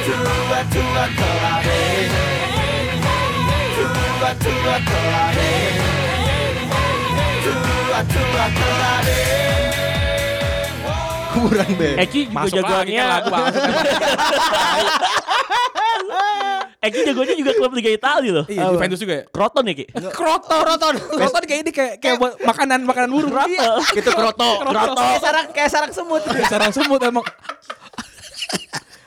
Tua tua kelahi Tua tua kelahi Tua tua kelahi Kurang deh
Eh,
Eki juga
Masuk lagi
jagoannya
kan lagu bangsat.
Eki jagoannya Eh, juga klub Liga Italia loh
[laughs] Iya Juventus juga ya
Croton ya Ki?
Kroton Kroton Eh. Kroton kayak ini kayak kayak buat makanan makanan burung Iya,
Itu Kroto Kroto
Kayak sarang kayak sarang semut.
sarang semut emang
[laughs]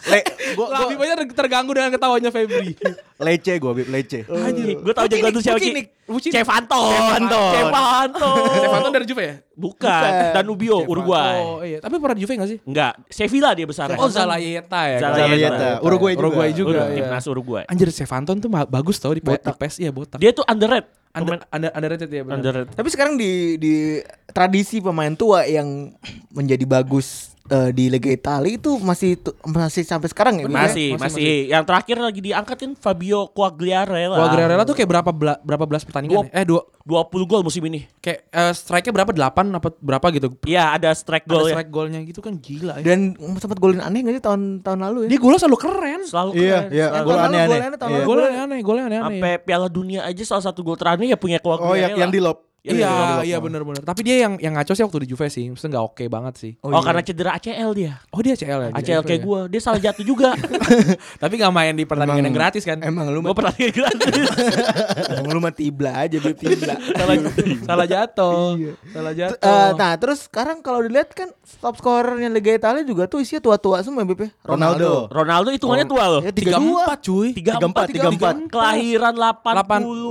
Le, gua, gua,
lebih banyak terganggu dengan ketawanya [laughs] Febri
lece gue bib lece
Oh,
Gue tau jagoan tuh siapa Ki?
Bucinik, Bucinik.
Cevanton Cevanton
Stefano dari Juve ya
Bukan Danubio
Oh
Uruguay
iya tapi pernah di Juve gak sih
Enggak Sevilla dia besar
Oh Zalayeta ya
Zalayeta.
iya,
Zalayeta Uruguay juga
Uruguay juga.
Udah,
ya.
Timnas Uruguay
Anjir Sevanton tuh ma- bagus tau di, botak. di PES iya botak.
Dia tuh underrated
under, under, underrated ya
Pemain
benar.
Underrated
Tapi sekarang di di tradisi pemain tua yang menjadi bagus eh, di Liga Italia itu masih tu- masih sampai sekarang ya. Bib, ya?
masih, masih,
masih.
Yang terakhir lagi diangkatin Fabio Quagliarella.
Wah Guerrero tuh kayak berapa bela- berapa belas pertandingan?
Dua-
ya? Eh dua
20 gol musim ini.
kayak eh, strike-nya berapa? 8 apa berapa gitu.
Iya, ada strike
Ada
gol ya.
strike golnya gitu kan gila ya.
Dan sempat golin aneh gak sih tahun tahun lalu ya? Eh,
Dia golnya selalu keren.
Selalu
Iya,
keren,
iya,
selalu.
gol
Tahun lalu,
aneh-aneh.
golnya tahun
Iya.
lalu.
Golnya aneh, golnya aneh aneh.
Sampai Piala Dunia aja salah satu gol terakhir ya punya Quagliarella.
oh yang yang di lob
Yang
Iya,
di
iya benar benar. Tapi dia yang yang ngaco sih waktu di Juve sih. Maksudnya enggak oke banget sih.
iya.
Oh, karena cedera ACL dia.
Oh dia CL ya. dia
ACL
Juve
kayak
ya?
gua, dia salah jatuh
[laughs]
juga.
Tapi enggak main di pertandingan
Emang-
yang gratis kan.
emang
[laughs]
lu
Gua kan? pernah gratis.
emang lu mah tibla aja bib tibla
salah salah jatuh. Salah
T-
jatuh.
Oh.
eh, nah terus sekarang kalau dilihat kan top scorernya Liga Italia juga tuh isinya tua-tua semua ya, Bib ya.
Ronaldo
Ronaldo hitungannya
Oh.
tua loh.
Ya,
32.
32.
cuy.
34,
34.
Kelahiran 80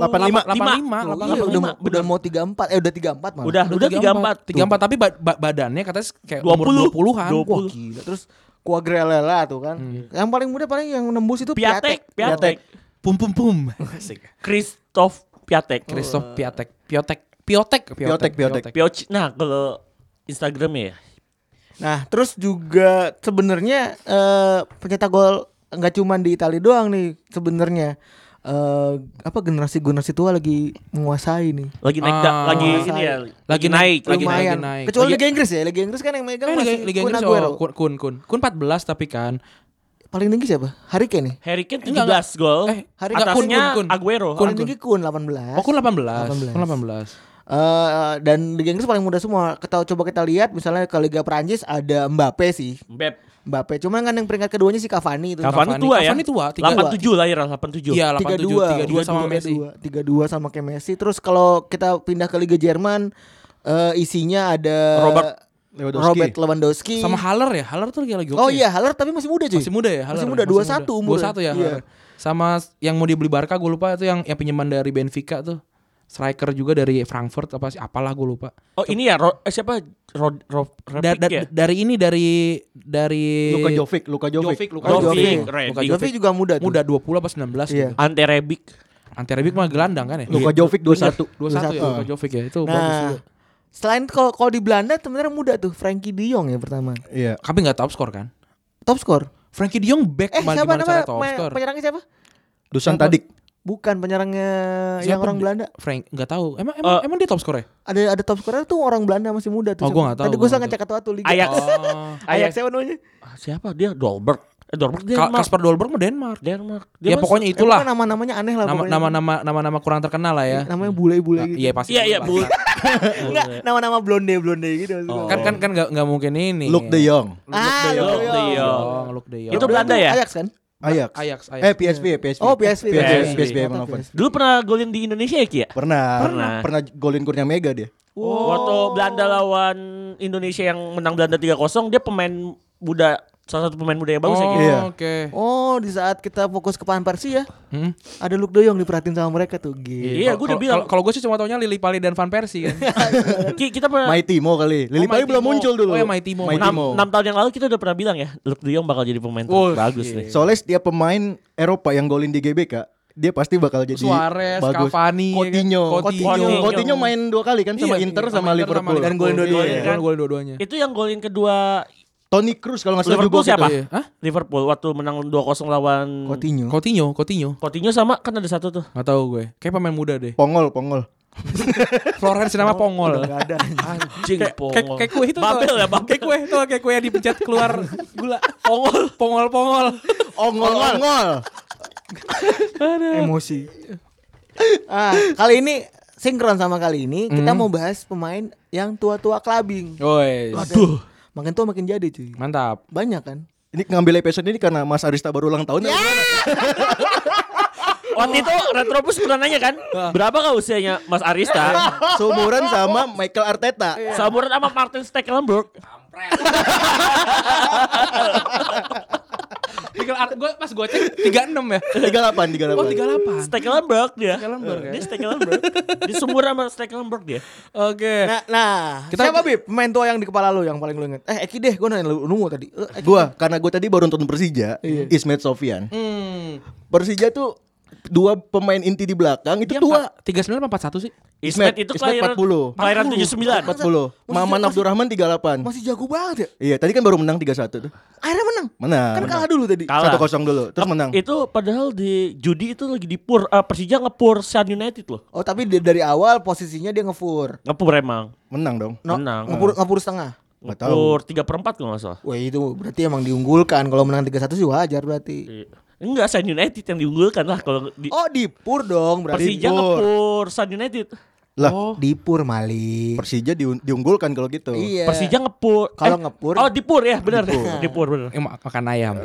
85.
85.
Delapan
Loh,
puluh
iya, udah,
lima,
mau- udah mau 34 eh udah 34 malah.
Ah, Udah, udah 34.
34 tapi ba- ba- badannya katanya kayak
20.
umur 20-an.
Wah gila. Terus Quagliarella tuh kan.
Hmm.
Yang paling muda paling yang nembus itu
Piatek, Piatek.
Pum pum pum.
Christoph Piatek.
Christoph Piatek, Piotek, Piotek,
Piotek, Piotek.
Pioc. Nah, kalau Instagramnya ya.
Nah, terus juga sebenarnya eh pencetak gol nggak cuman di Italia doang nih sebenarnya. Eh apa generasi-generasi tua lagi menguasai nih.
Lagi naik, da-
Ah.
lagi ini ya. Lagi
Lagi
naik,
naik,
lagi naik.
Lumayan.
lagi naik.
Kecuali
Lagi-
Liga Inggris ya. Liga Inggris kan yang megang
Kan Liga,
masih
Liga
Kun
Inggris
Aguero.
oh, kun, kun, kun. Kun 14 tapi kan.
Paling tinggi siapa? Harry Kane ya? nih.
Harry Kane 17
Enggak, enggak.
gol.
Eh,
Eh,
Harry-
atasnya
Oh, Kun, Kun, Kun.
Aguero. Ah,
Kun.
Paling tinggi Kun 18.
Oh, kun 18.
18.
Kun 18.
Eh, dan Liga Inggris paling mudah semua. Kita coba kita lihat misalnya ke Liga Prancis ada Mbappe sih.
Beb.
Mbappe. Cuman kan yang peringkat keduanya si Cavani itu.
Cavani tua ya?
Cavani tua, tiga-
87 lahir 87.
Iya,
32
87, 32 sama
32,
Messi.
32 sama kayak Messi. Terus kalau kita pindah ke Liga Jerman eh, isinya ada
Robert Lewandowski.
Robert Lewandowski.
Sama Haller ya, Haller tuh lagi lagi oke.
oh iya, Haller tapi masih muda cuy.
Masih muda ya, Haller.
Masih muda 21 umurnya.
21 ya.
Iya.
Haller. Sama s- yang mau dibeli Barca gue lupa itu yang yang pinjaman dari Benfica tuh. Striker juga dari Frankfurt apa sih apalah gue lupa.
Oh ini ya Ro- eh, siapa Rod Rob
Da- da-
ya?
Dari ini dari dari
Luka Jovic, Luka
Iya.
Jovic.
Jovic, Luka
Jovic.
Jovic.
Jovic.
Luka
Jovic juga muda tuh.
Muda 20 apa 19
Iya.
gitu.
Ante Rebic.
Anti Rebic mah gelandang kan ya?
Luka Jovic
21
21.
ya
21.
Luka Jovic ya. Itu bagus
Nah,
juga.
selain kalau kalau di Belanda sebenarnya muda tuh Frankie De Jong ya pertama.
Iya.
Kami enggak top skor kan?
Top skor.
Frankie De Jong back
Eh,
malah
siapa
gimana cara
nama
top
ma-
skor?
penyerangnya siapa?
Dusan
Siapa?
Tadic.
Bukan penyerangnya yang
Siapa
orang
di-
Belanda.
Frank enggak tahu. Emang emang,
Eh,
emang dia top skor ya?
Ada ada top skornya tuh orang Belanda masih muda tuh.
Oh, gua nggak tahu,
Tadi
gua
gue sangat
nggak
cakap tuh Liga.
Ajax.
Oh.
[laughs] Ajax siapa namanya?
Ah, siapa dia? Dolberg. Eh Dolberg
Ka-
Denmark.
Kasper Dolberg mah Denmark.
Denmark. Dia
Ya
mas-
pokoknya
Itulah.
itulah.
nama-namanya aneh lah
nama
pokoknya.
nama nama nama nama kurang terkenal lah ya.
namanya bule-bule gitu.
Iya pasti.
Iya iya bu.
Enggak, nama-nama blonde-blonde gitu.
Oh.
Kan kan kan nggak nggak mungkin ini.
Luke De Jong.
Oh,
Ah,
iya.
Luke
Luke
De
De Jong.
Jong, Luke De Jong.
Itu Belanda ya?
Ajax kan?
Ajax.
Ajax, Ajax.
Eh PSV, PSV.
Oh, PSV.
PSV,
PSV.
PSV Eindhoven.
Dulu pernah golin di Indonesia ya Ki ya?
Pernah.
Pernah.
Pernah golin kurnia mega dia.
Waktu Belanda lawan Indonesia yang menang Belanda 3-0, dia pemain muda salah satu pemain muda yang bagus ya Ki.
Iya.
Oh, oke.
Oh, di saat kita fokus ke Pan Persie ya,
Hmm?
ada Luke De Jong diperhatiin sama mereka tuh. Gila.
Iya,
Kalau-
gua udah
kalau-
bilang.
Kalau gue sih cuma taunya Lili Pali dan Van Persie kan.
Ki, kita pernah
Mighty Mo kali. Lili
Oh,
Pali
Mighty
belum
Mo.
muncul dulu.
Oh, ya, Mighty Mo.
Mighty Mo.
6, tahun yang lalu kita udah pernah bilang ya, Luke De Jong bakal jadi pemain
Oh,
bagus
shit.
nih.
Soalnya setiap pemain Eropa yang golin di GBK, dia pasti bakal jadi
Suarez, Cavani,
Coutinho.
ya kan? Coutinho.
Coutinho. Coutinho main dua kali [laughs] kan sama
Iya, iya,
Inter sama
Inter
Liverpool. Oh,
sama
Dan golin
Liverpool.
dua-duanya.
Iya,
kan?
kan, golin dua-duanya.
Itu yang golin kedua
Tony Cruz kalau nggak salah
Liverpool
juga
siapa?
gitu.
Iya. Hah?
Liverpool waktu menang 2-0 lawan
Coutinho.
Coutinho, Coutinho.
Coutinho sama kan ada satu tuh.
Gak tau gue. Kayak pemain muda deh.
Pongol, Pongol.
Florence
Oh,
nama Pongol.
Enggak ada.
Anjing
Kayak
pongol.
kayak- kayak kue itu.
Babel
tau.
ya, Babel.
Kayak kue itu kayak kue yang dipencet keluar gula. Pongol, pongol, pongol.
Ongol, Ongol.
Emosi. ah, kali ini sinkron sama kali ini kita mau bahas pemain yang tua-tua kelabing.
Woi.
Aduh. Makin tua makin jadi cuy.
Mantap.
Banyak kan?
Ini ngambil episode ini karena Mas Arista baru ulang tahun.
Waktu itu Retropus pernah nanya kan, berapa kah usianya Mas Arista?
Seumuran sama Michael Arteta.
Samurat sama Martin Stekelenburg.
Tinggal art gue pas gue cek 36 ya.
38, 38.
Oh 38.
Stekelenburg dia.
Stekelenburg ya.
Dia Stekelenburg. Di sumur sama Stekelenburg dia.
Oke.
Nah, nah
Eh. Kita-
siapa Bib? Pemain tua yang di kepala lu yang paling lu inget? Eh, Eki deh, gue nanya lu nunggu tadi. Eh, Eki.
Gua karena gue tadi baru nonton Persija, Ismet Sofian.
Hmm.
Persija tuh dua pemain inti di belakang itu
Dia
tua.
empat- 39 apa 41 sih?
Ismet itu
Ismet
kelahiran
40.
Kelahiran 79.
40. Maman Abdurrahman 38.
Masih jago banget ya?
Iya, tadi kan baru menang 3-1 tuh.
Akhirnya menang.
Menang.
Kan kalah
menang.
dulu tadi.
Kalah.
1-0 dulu, terus menang.
Itu padahal di judi itu lagi di pur eh, Persija ngepur Sean United loh.
Oh, tapi dia dari awal posisinya dia ngefur.
Ngepur emang.
Menang dong.
Menang.
Ngepur, ngepur setengah.
Nggak tahu.
Ngepur 3 per 4 kalau nggak salah.
Wah, itu berarti emang diunggulkan. Kalau menang 3-1 sih wajar berarti.
Iya. Enggak Sean United yang diunggulkan lah kalau di
Oh, dipur dong berarti.
Iya. Persija
Pur.
ngepur Sean United.
Lah,
Oh. Dipur Mali.
Persija diun- diunggulkan kalau gitu.
Iya.
Persija ngepur.
Kalau ngepur-
Oh, dipur ya, benar. [laughs] Dipur, benar.
Eh, ma- makan
[laughs]
ayam.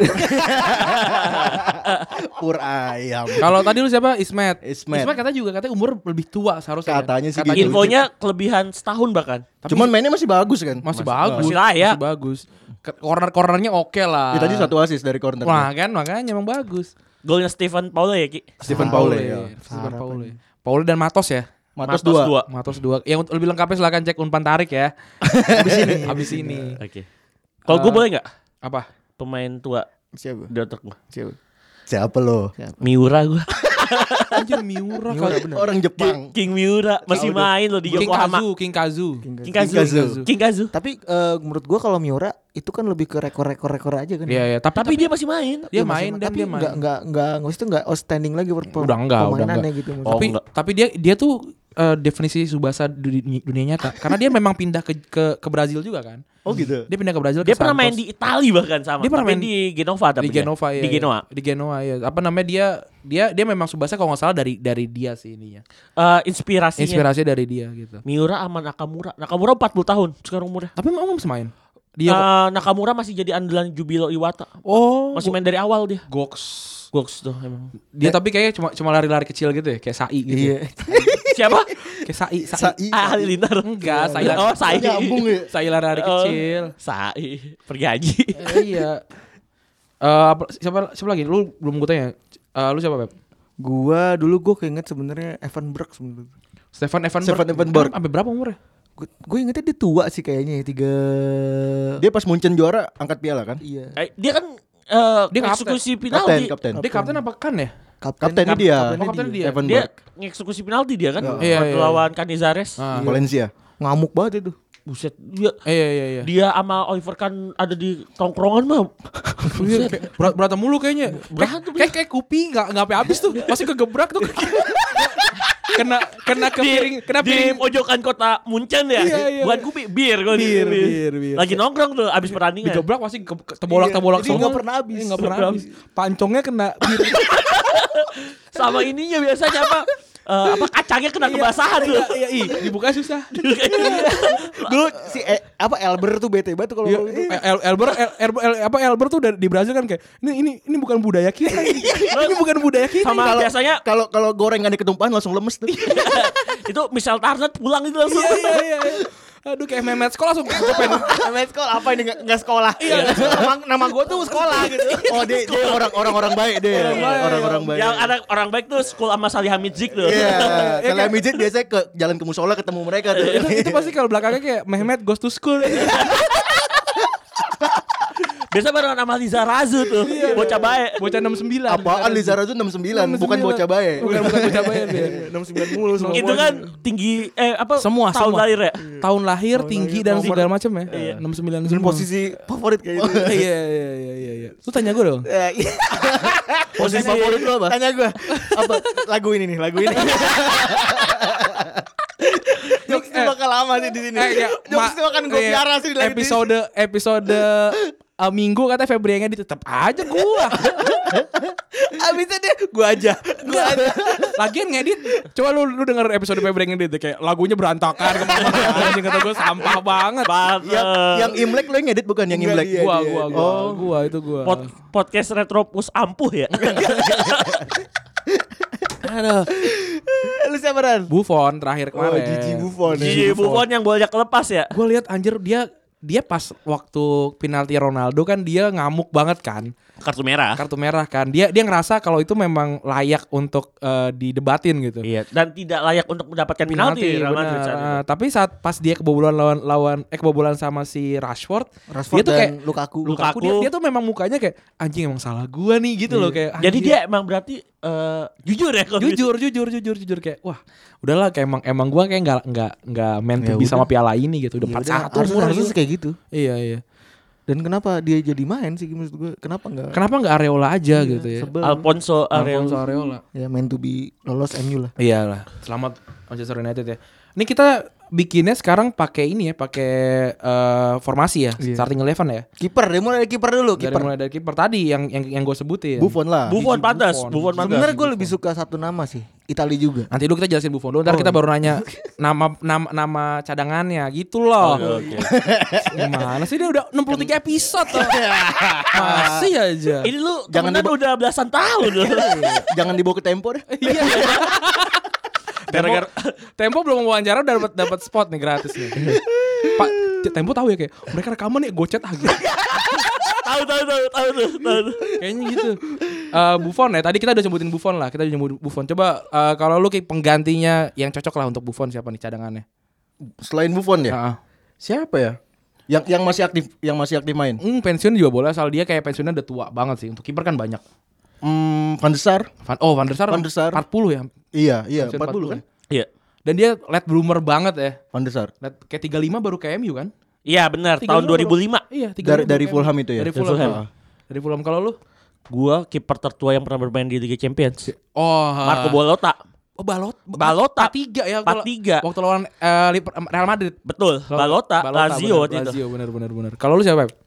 Pur ayam.
Kalau tadi lu siapa? Ismet.
Ismet.
katanya juga katanya umur lebih tua seharusnya.
Katanya sih gitu.
Infonya kelebihan setahun bahkan.
Cuman mainnya masih bagus kan?
masih ya. bagus.
Masih layak.
Masih bagus. Ke- Corner-cornernya oke lah.
Ya, tadi satu asis dari corner.
Wah, kan makanya emang bagus.
Golnya Stephen Paula ya, Ki.
Stephen Paule ya.
Steven Paule. Paule dan Matos ya.
Matos dua.
dua.
Matos dua. Yang lebih lengkapnya silakan cek Unpan Tarik ya. Habis ini, [laughs] habis ini.
Oke. Kalau gue
Eh,
boleh nggak
Apa?
pemain tua
Siapa?
di otak gue?
Siapa?
Siapa lo?
Miura gue.
Anjir Miura kali.
Orang Jepang.
[laughs] King Miura masih main loh di
King
Yokohama.
Kazu, King Kazu.
King Kazu.
King Kazu.
King Kazu.
Tapi eh, menurut gua kalau Miura itu kan lebih ke rekor-rekor-rekor aja kan.
Iya, iya. Tapi,
Tapi dia masih main.
dia
Iya, masih-
main dan
tapi
dia main.
Enggak enggak enggak maksudnya enggak outstanding lagi per, per-
Udah enggak, udah
pemainannya
enggak.
gitu.
Oh,
tapi
enggak.
tapi dia dia tuh eh, definisi Subasa dunia, dunia nyata karena dia memang pindah ke ke, ke Brazil juga kan.
Oh gitu.
Dia pindah ke Brazil
Dia
ke
pernah main
Santos.
di Itali bahkan sama.
Dia pernah
Tapi
main-
di Genova tapi
di
dia.
Genova ya.
Di
ya.
Genoa.
Di Genoa ya. Apa namanya dia dia dia memang Subasa kalau nggak salah dari dari dia sih ininya.
Eh, inspirasinya.
Inspirasi dari dia gitu.
Miura sama Nakamura. Nakamura 40 tahun sekarang umurnya.
Tapi mau masih main. Dia
Eh Nakamura masih jadi andalan Jubilo Iwata.
oh
Masih main dari awal dia.
Gox.
Goks tuh emang.
Dia tapi kayaknya cuma cuma lari-lari kecil gitu ya, kayak sai gitu.
Iya.
[laughs]
Siapa?
Kayak sai, sai.
Sai.
ah, Halilintar.
Iya. Enggak, sai. lari-
Oh, Sai.
Nyambung ya.
Sai lari-lari
Eh,
kecil.
Sai. Pergi haji.
Eh, iya. Eh apa- siapa siapa lagi? Lu belum gue tanya. Eh, lu siapa, Beb?
Gua dulu gua keinget sebenarnya Evan Brooks sebenarnya.
Stefan Evan
Stefan Evanberg.
Sampai berapa umurnya?
Gua, gua ingetnya dia tua sih kayaknya ya, tiga.
Dia pas Munchen juara angkat piala kan?
Iya.
Eh, dia kan eh
Dia kapten.
eksekusi
Kapten,
penalti.
kapten.
Dia kapten apa kan ya?
Kapten
Kap-
dia.
kaptennya Oh, kaptennya dia.
Evan
Dia
Berg.
eksekusi penalti dia kan
Iya,
waktu
iya, iya.
lawan Canizares.
Ah,
Valencia.
Ngamuk banget itu.
Buset, dia
Iya iya iya.
dia sama Oliver kan ada di tongkrongan
[laughs]
mah.
Iya, kayak berat berantem mulu kayaknya.
Berantem,
kayak, kayak kayak kuping nggak nggak sampai habis tuh, pasti kegebrak tuh. kena kena ke piring, kena
di
piring.
pojokan kota Munchen ya.
Iya, iya.
Bukan kopi, bir kalau di
Bir,
bir,
bir, bir.
Lagi nongkrong tuh abis pertandingan.
Digebrak pasti ke, ke- tebolak-tebolak
Iya, jadi
semua.
nggak pernah habis.
Iya, nggak pernah habis. Pancongnya kena piring.
Sama ininya biasanya apa? eh, apa kacangnya kena kebasahan tuh. Iya,
Iya, iya, dibuka susah.
Dulu si eh, apa Elber tuh bete banget tuh kalau
Iya,
kalau itu.
El- Elber, El- Elber, El- apa Elber tuh dari, di Brazil kan kayak ini ini ini bukan budaya kita. ini bukan budaya kita.
Sama biasanya [laughs]
Kalau kalau gorengan di ketumpahan langsung lemes tuh.
itu Michel Tarnet pulang itu langsung.
Iya, iya, iya, iya. Aduh kayak Mehmet sekolah langsung gue pengen
Namanya sekolah apa ini nggak nggak sekolah. nama, nama gua tuh sekolah gitu.
oh, dia, dia orang orang orang baik deh. Orang-orang baik.
Yang anak orang baik tuh school sama Salih Hamidzik tuh. [laughs]
Iya, kalau mijit biasanya ke jalan ke musola ketemu mereka tuh.
itu, itu pasti kalau belakangnya kayak Mehmet goes to school.
Biasa bareng sama Liza Razu tuh.
Iya,
Bocah baik.
Bocah 69.
[laughs] Apaan Liza Razu 69, bukan bocah baik.
Bukan bukan bocah ya, bae.
Iya,
Be.
69 mulu semua.
Itu kan tinggi eh apa
Semua,
tahun
semua.
lahir ya? Iya.
Tahun lahir, tinggi dan
nomor-
segala macam ya. 69
Dan
semua.
posisi favorit
[laughs]
kayak gitu.
Iya, iya, iya, iya, iya, iya. Lu tanya gue dong.
Eh, iya.
Posisi favorit lu apa?
Tanya gua apa lagu ini nih, lagu ini. Jokes ini
Eh.
bakal lama sih di sini.
Eh, ya,
[laughs] Jokes
ma-
itu akan gue
iya,
piara sih dari
Episode episode eh, minggu katanya Febri yang edit tetap aja gua.
[laughs] Abisnya deh gue aja. Gue aja.
[laughs] Lagian ngedit, coba lu lu denger episode Febri yang edit kayak lagunya berantakan kemana anjing kata gua sampah banget.
Yang,
Iya,
yang Imlek lu yang ngedit bukan yang
Enggak,
Imlek.
iya,
Gua
dia,
gua
dia.
gua gua itu gua.
Pod- podcast Retropus ampuh ya.
Iya, Aduh.
Lu siapa Ran?
Buffon terakhir
Oh,
kemarin.
Gigi Buffon. ya.
[laughs] Gigi Buffon yang bolanya kelepas ya.
Gue lihat anjir dia dia pas waktu penalti Ronaldo kan dia ngamuk banget kan
Kartu merah.
kartu merah kan dia dia ngerasa kalau itu memang layak untuk eh, didebatin gitu
Iya, dan tidak layak untuk mendapatkan penalti, Real Madrid
benar.
saat itu.
Eh, tapi saat pas dia kebobolan lawan lawan eh kebobolan sama si Rashford,
Rashford
dia tuh
dan
kayak
Lukaku.
Lukaku, Dia, dia tuh memang mukanya kayak anjing emang salah gua nih gitu loh kayak
Iya. Jadi
anjing.
dia emang berarti eh, jujur ya kalau gitu.
jujur jujur jujur jujur kayak wah udahlah kayak emang emang gua kayak nggak nggak nggak main
Ya
bisa sama piala ini gitu udah
Ya
empat
udah,
satu
harusnya, harusnya sih kayak gitu.
iya iya
Dan kenapa dia jadi main sih maksud gue? Kenapa enggak?
kenapa nggak Areola aja
Iya,
gitu ya
Sebel.
Alfonso
Alfonso Areola
Areola.
Ya main to be lolos MU lah.
iyalah selamat Manchester United ya ini kita bikinnya sekarang pakai ini ya pakai eh, formasi ya starting eleven ya
Kiper, dia mulai Iya. dari kiper dulu,
dari
kiper.
mulai dari kiper tadi yang yang yang gue sebutin
Buffon lah.
Buffon pantas, Buffon pantas.
Sebenarnya gue lebih suka satu nama sih, Itali [laughs] juga.
nanti dulu kita jelasin Buffon dulu ntar kita baru nanya nama nama nama cadangannya gitu loh gimana sih dia udah 63 episode loh. masih aja
Ini lu jangan
Jangan dibawa-
udah belasan tahun
[laughs]
loh.
Jangan dibawa ke tempo deh.
Tempo, Iya. Tempo belum wawancara udah dapat dapat spot nih gratis nih. Pak Tempo tahu ya kayak mereka rekaman ya gocet aja.
tahu tahu tahu tahu tuh, tahu. tuh.
Kayaknya gitu. Eh Buffon ya tadi kita udah sebutin Buffon lah, kita udah nyebutin Buffon. Coba eh, kalau lu kayak penggantinya yang cocok lah untuk Buffon siapa nih cadangannya?
Selain Buffon ya.
Heeh.
Siapa ya? Yang yang masih aktif, yang masih aktif main.
Hmm, pensiun juga boleh asal dia kayak pensiunnya udah tua banget sih. Untuk kiper kan banyak.
Hmm, Van de Sar.
Van, oh Van der Sar,
Van der Sar.
40 ya.
Iya, iya,
Pensiun
40 kan?
Iya.
Dan dia late bloomer banget ya.
Van de Sar.
Late, kayak 35 baru ke MU kan?
Iya benar,
35
tahun
baru-
2005.
Iya, 35
Dari dari
baru ke
Fulham
MU.
itu ya.
Dari Fulham.
Fulham.
Heeh. Dari Fulham kalau lu?
Gua kiper tertua yang pernah bermain di Liga Champions.
Oh,
Marco Bolota.
Oh, Balot
Balota.
tiga ya waktu-
Empat tiga.
waktu lawan eh, Liver- Real Madrid.
Betul, Balota, Lazio
benar,
waktu itu.
Lazio benar benar benar. Kalau lu siapa? Pep?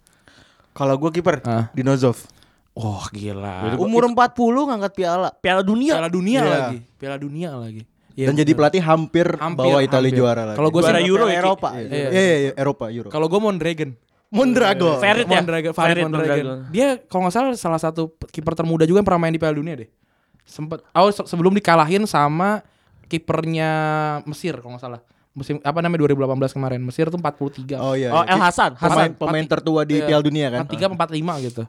Kalau gue kiper,
Ah.
Dinozov.
Oh,
Wah, gila.
Umur 40 ngangkat piala.
Piala Dunia.
Piala dunia
Iya.
lagi. Piala dunia lagi. Iya,
Dan jadi
benar.
pelatih hampir,
Hampir,
bawa Italia
hampir.
juara lagi.
Kalau gue
Juara
sih
Euro ya, Ki?
Eropa.
Iya,
Iya.
iya, iya, Eropa, Euro.
kalau gue Mondragon.
Mondragon.
Ferit ya.
Mondragon, Farid
Ferit
Mondragon. Dia kalau nggak salah salah satu kiper termuda juga yang pernah main di Piala Dunia deh. Sempet oh se- sebelum dikalahin sama kipernya Mesir kalau nggak salah. Musim apa namanya 2018 kemarin. Mesir tuh 43.
Oh iya.
Oh,
iya.
El Hasan.
Pemain,
Hasan.
pemain tertua di
Iya.
Piala Dunia kan.
43 45 gitu.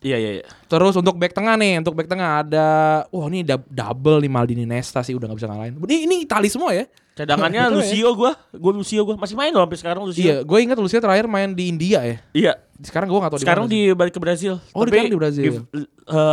Iya, iya,
[laughs]
iya.
Terus untuk back tengah nih, untuk back tengah ada wah ini dab- double nih Maldini Nesta sih udah nggak bisa ngalahin. Ini ini Itali semua ya.
Cadangannya Lucio gua, gua Lucio gua masih main loh sampai sekarang Lucio.
Iya, gue ingat Lucia terakhir main di India ya.
Iya.
Sekarang gue nggak tahu
Sekarang
mana sih.
di balik ke Brazil.
Oh,
Tapi
sekarang di Brazil.
eh,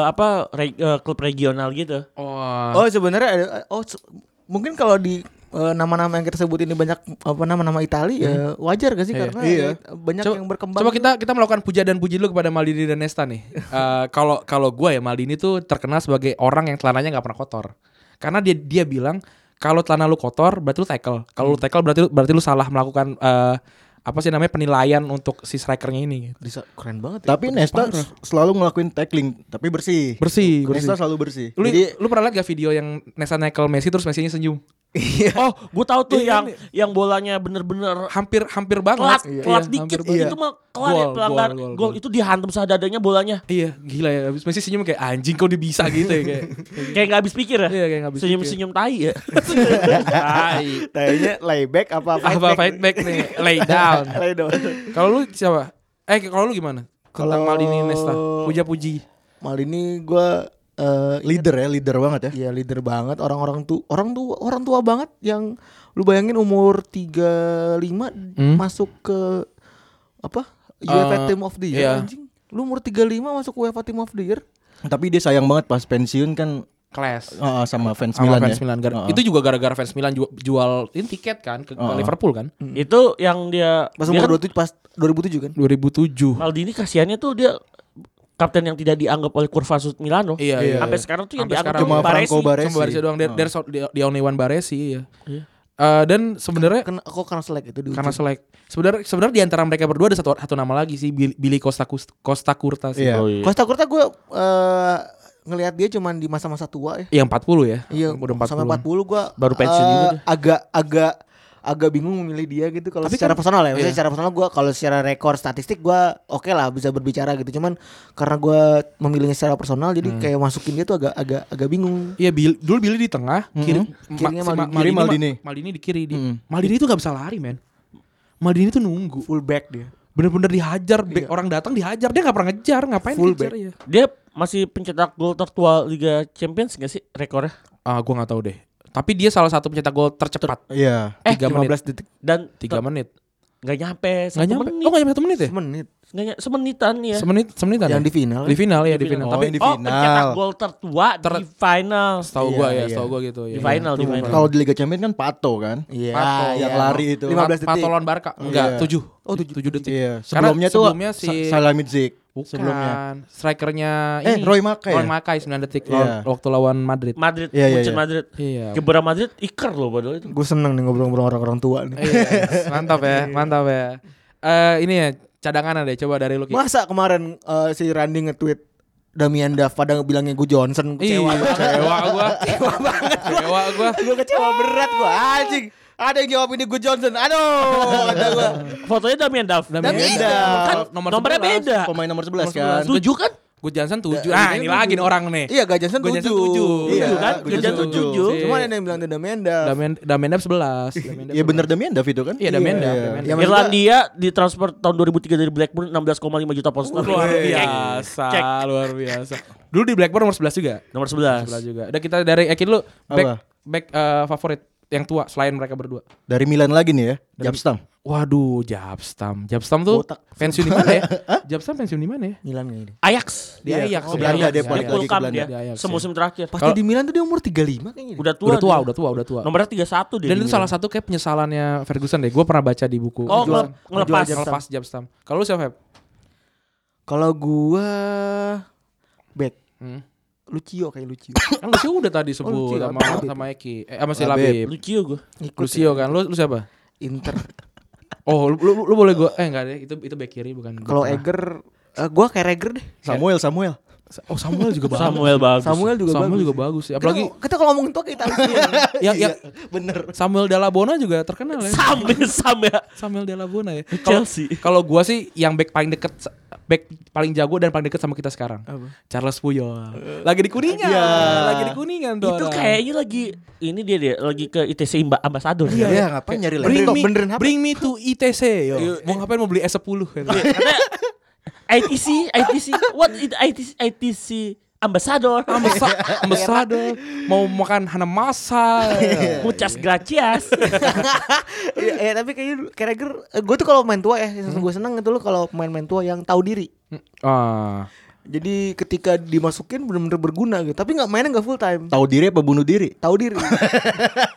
apa re- eh, klub regional gitu.
Wah.
Oh sebenarnya ada oh se- mungkin kalau di eh, nama-nama yang kita sebut ini banyak apa nama-nama Itali ya wajar gak sih
Iya.
karena
Iya.
ya, banyak
Coba-
yang berkembang.
Coba kita kita melakukan puja dan puji dulu kepada Maldini dan Nesta nih. Eh, Kalau kalau gue ya Maldini tuh terkenal sebagai orang yang celananya nggak pernah kotor. Karena dia dia bilang kalau celana lu kotor berarti lu tackle. Kalau lu tackle berarti lu- berarti lu salah melakukan eh, apa sih namanya penilaian untuk si strikernya ini. gitu.
Bisa- keren banget. Ya.
Tapi Nesta s- selalu ngelakuin tackling, tapi bersih.
Bersih, bersih.
Nesta selalu bersih.
Lu,
Jadi
lu pernah lihat gak video yang Nesta tackle Messi terus Messi-nya senyum?
Oh, gua tahu tuh
Iya,
yang
kan?
yang bolanya bener-bener
Hampir hampir banget.
kelat,
Iya,
kelat
hampir
dikit.
banget.
Itu mah kelar ya
Gol,
pelanggar.
gol,
Gol,
gol, gol.
itu dihantam sadadanya bolanya.
Iya, gila ya. Abis Messi senyum kayak anjing kok dia bisa gitu ya kayak. [laughs]
Kayak nggak habis pikir ya.
Iya, kayak nggak habis
Senyum-senyum
[laughs]
tai ya.
Tai.
Kayaknya layback apa
[laughs]
fight
Apa
back?
fight back nih? Lay down.
Lay down.
Kalau lu siapa? Eh kalau lu gimana? Tentang
Kalau-
Maldini Nesta. Puja-puji.
Mal ini gue eh
leader ya, leader banget ya.
ya leader banget orang-orang tuh orang tua orang tua banget yang lu bayangin umur 35 masuk ke apa UEFA
Eh,
Team of the Year
iya.
anjing. Lu umur 35 masuk UEFA Team of the Year.
Tapi dia sayang banget pas pensiun kan
Class.
eh, sama fans
Sama
Milan
fans
ya.
Milan. Gara-
Eh, eh.
Itu juga gara-gara fans Milan ju- jual ini tiket kan ke ke
Uh-uh.
Liverpool kan?
itu yang dia
Pas
dia kan
umur 27 pas 2007 kan.
2007.
Maldini kasihannya tuh dia kapten yang tidak dianggap oleh kurva Sud Milano.
Iya, iya.
Sampai sekarang tuh yang
Sampai
dianggap
sekarang.
cuma
tuh Baresi.
Franco Baresi. Ah,
Cuma Baresi doang.
Oh.
There- There's the, the only one Baresi ya.
Iya.
Eh, dan sebenarnya
Kena kok karena selek itu di
karena
ujung.
selek. Sebenarnya sebenarnya di antara mereka berdua ada satu satu nama lagi sih Billy- Billy Costa Cus- Costa Curta sih.
Iya.
Oh, iya.
Costa Curta gue eh ngelihat dia cuman di masa-masa tua ya.
Yang 40 ya.
Iya,
udah 40.
sampai 40 gua
Baru pensiun
eh,
juga
Agak agak agak bingung memilih dia gitu kalau
Tapi
secara
kan-
personal ya.
iya.
Maksudnya secara personal gua kalau secara rekor statistik gua oke lah bisa berbicara gitu. Cuman karena gua memilihnya secara personal jadi
Hmm.
kayak masukin dia tuh agak agak agak bingung.
Iya Bill, dulu Billy di tengah, Mm-hmm. kiri Ma-
Kirinya
si Ma-
Maldini. Kiri
Ma-
Maldini.
Maldini Mm-hmm. di kiri di.
Mm.
Maldini tuh gak bisa lari, men. Maldini tuh nunggu.
Full back dia.
Bener-bener dihajar, back orang datang dihajar, dia gak pernah ngejar, ngapain
Full
ngejar
back.
ya.
Dia masih pencetak gol tertua Liga Champions gak sih rekornya?
Ah, gua gak tahu deh. Tapi dia salah satu pencetak gol tercepat.
Iya.
Eh,
3 menit.
detik
Dan
3 menit.
nggak nyampe
Gak
satu
nyampe.
menit.
Oh, gak nyampe 1 menit ya?
menit.
Nggak nyampe- semenitan ya.
Semenit, semenitan.
Yang
ya?
di final.
Di final ya, di final.
Oh,
Tapi
yang di
Oh, pencetak
final.
gol tertua di final.
setahu
Iya,
gua ya,
iya.
setahu gua gitu ya.
Di final, di final.
Kalau di Liga Champions kan Pato kan.
Iya,
Pato.
Yang
iya.
lari itu.
15 detik.
Pat- Patolon Barca. Enggak,
Iya.
7. Oh, 7, detik.
Iya.
Karena
Sebelumnya tuh
sebelumnya si-
Sa- Salamidzic.
Bukan.
Sebelumnya.
Strikernya
Eh,
ini.
Roy Makai
Roy
ya?
Makai 9 detik
Iya.
lawan- waktu lawan
[laughs]
Madrid.
Madrid,
Iya, iya,
Munchen
iya.
Madrid.
Iya.
Gebora Madrid Iker loh padahal itu.
Gue seneng nih ngobrol-ngobrol orang-orang tua nih.
Yes, mantap ya,
Iya.
mantap ya. Eh ini ya cadangan deh coba dari lu Ki.
[laughs] Masa kemarin eh, si Randy nge-tweet Damian Duff pada bilangnya gue Johnson
Ih,
kecewa.
kecewa
[laughs]
gua. Kecewa banget. Kecewa gua.
gue kecewa berat gue anjing ada yang jawab ini gue Johnson aduh
[laughs]
ada gue
Fotonya Damian Duff.
Damian
Damian
Duff.
Duff. Kan
Iya. Nomor
nomornya
11.
beda.
Pemain nomor
Ah,
11
Nomor
kan.
11.
Tujuh kan?
Gua Johnson 7. Ah, ini lagi nih orang nih.
iya gak Johnson
Gua Johnson
7
tujuh.
Iya,
Tujuh kan?
Gua
Kerjaan
Johnson
tujuh.
tujuh.
cuman ada yang bilang The Damenda
Damian Damian Dab 11. Damian Dab
Iya bener Damian David itu kan?
Iya, Damian Duff,
Iya.
Damian
Iya, maksudnya-
Irlandia ditransfer tahun 2003 dari Blackburn 16,5 juta pound sterling.
Iya.
Luar
Cek.
biasa,
Cek.
luar biasa. Dulu di Blackburn nomor 11 juga.
Nomor
11
11.
juga. Udah kita dari Ekin lu back
Apa?
back eh, favorit yang tua selain mereka berdua.
Dari Milan lagi nih ya. Jabstam.
Iya. Waduh, Jabstam. Jabstam tuh pensiun di mana ya? Jabstam pensiun di mana ya?
Milan ini
Ajax.
Di Ajax.
ke Belanda dia balik lagi ke
Dipulkan
Belanda.
dia
Di Ajax, iya.
semusim terakhir.
pasti di Milan tuh dia umur 35 kayaknya deh.
Udah tua.
Udah tua,
dia.
udah tua, udah tua.
Nomornya 31 dia.
Dan
Iya, di
itu
Milan.
salah satu kayak penyesalannya Ferguson deh. Gue pernah baca di buku.
Oh,
Jual-
ngelep- ngelepas.
jual- ngelepas Jabstam. Kalau lu siapa? Feb?
kalau gue back Lucio kayak Lucio.
Kan Lucio udah tadi
Lucio,
sebut sama
Labib.
sama Eki. Eh sama si
Labib.
Labib.
Lucio gue.
Lucio kan. Lu lu siapa?
ya. Inter.
Oh, lu, lu, lu boleh gua eh enggak deh, itu itu back kiri bukan.
Kalau
back
Eger eh, gua kayak Eger deh.
Samuel, Samuel.
tengah. Oh, Samuel juga bagus.
Samuel bagus.
Samuel juga
Samuel
bagus.
juga bagus sih.
[laughs]
Apalagi
kita, kita kalau ngomong tua kita
ya, ya,
Bener.
Samuel Dalabona juga terkenal ya.
Samuel Samuel
Samuel Dalabona ya. Kalau
Chelsea.
kalau gua sih yang back paling deket back paling jago dan paling deket sama kita sekarang.
Apa?
Charles Puyol. Lagi di Kuningan. Lagi di Kuningan tuh.
Itu
orang.
kayaknya lagi ini dia dia lagi ke ITC Imba Ambasador.
Iya,
Ya ngapain nyari lagi?
Iya, Bring
Benerin
me,
apa? Benerin apa?
bring me to ITC yo. Mau ngapain mau beli S10 gitu.
ITC, ITC, what it ITC, ITC Ambasador.
Ambesa, ambasado, mau makan hanamasa.
Muchas gracias.
ya, ya, tapi kayaknya dulu, kayak Eger eh, gua tuh kalau main tua ya, yang gua seneng itu lo kalau main-main tua yang tahu diri.
Ah,
Jadi ketika dimasukin bener-bener berguna gitu. Tapi nggak mainnya nggak full time.
Tahu diri apa bunuh diri?
Tahu diri.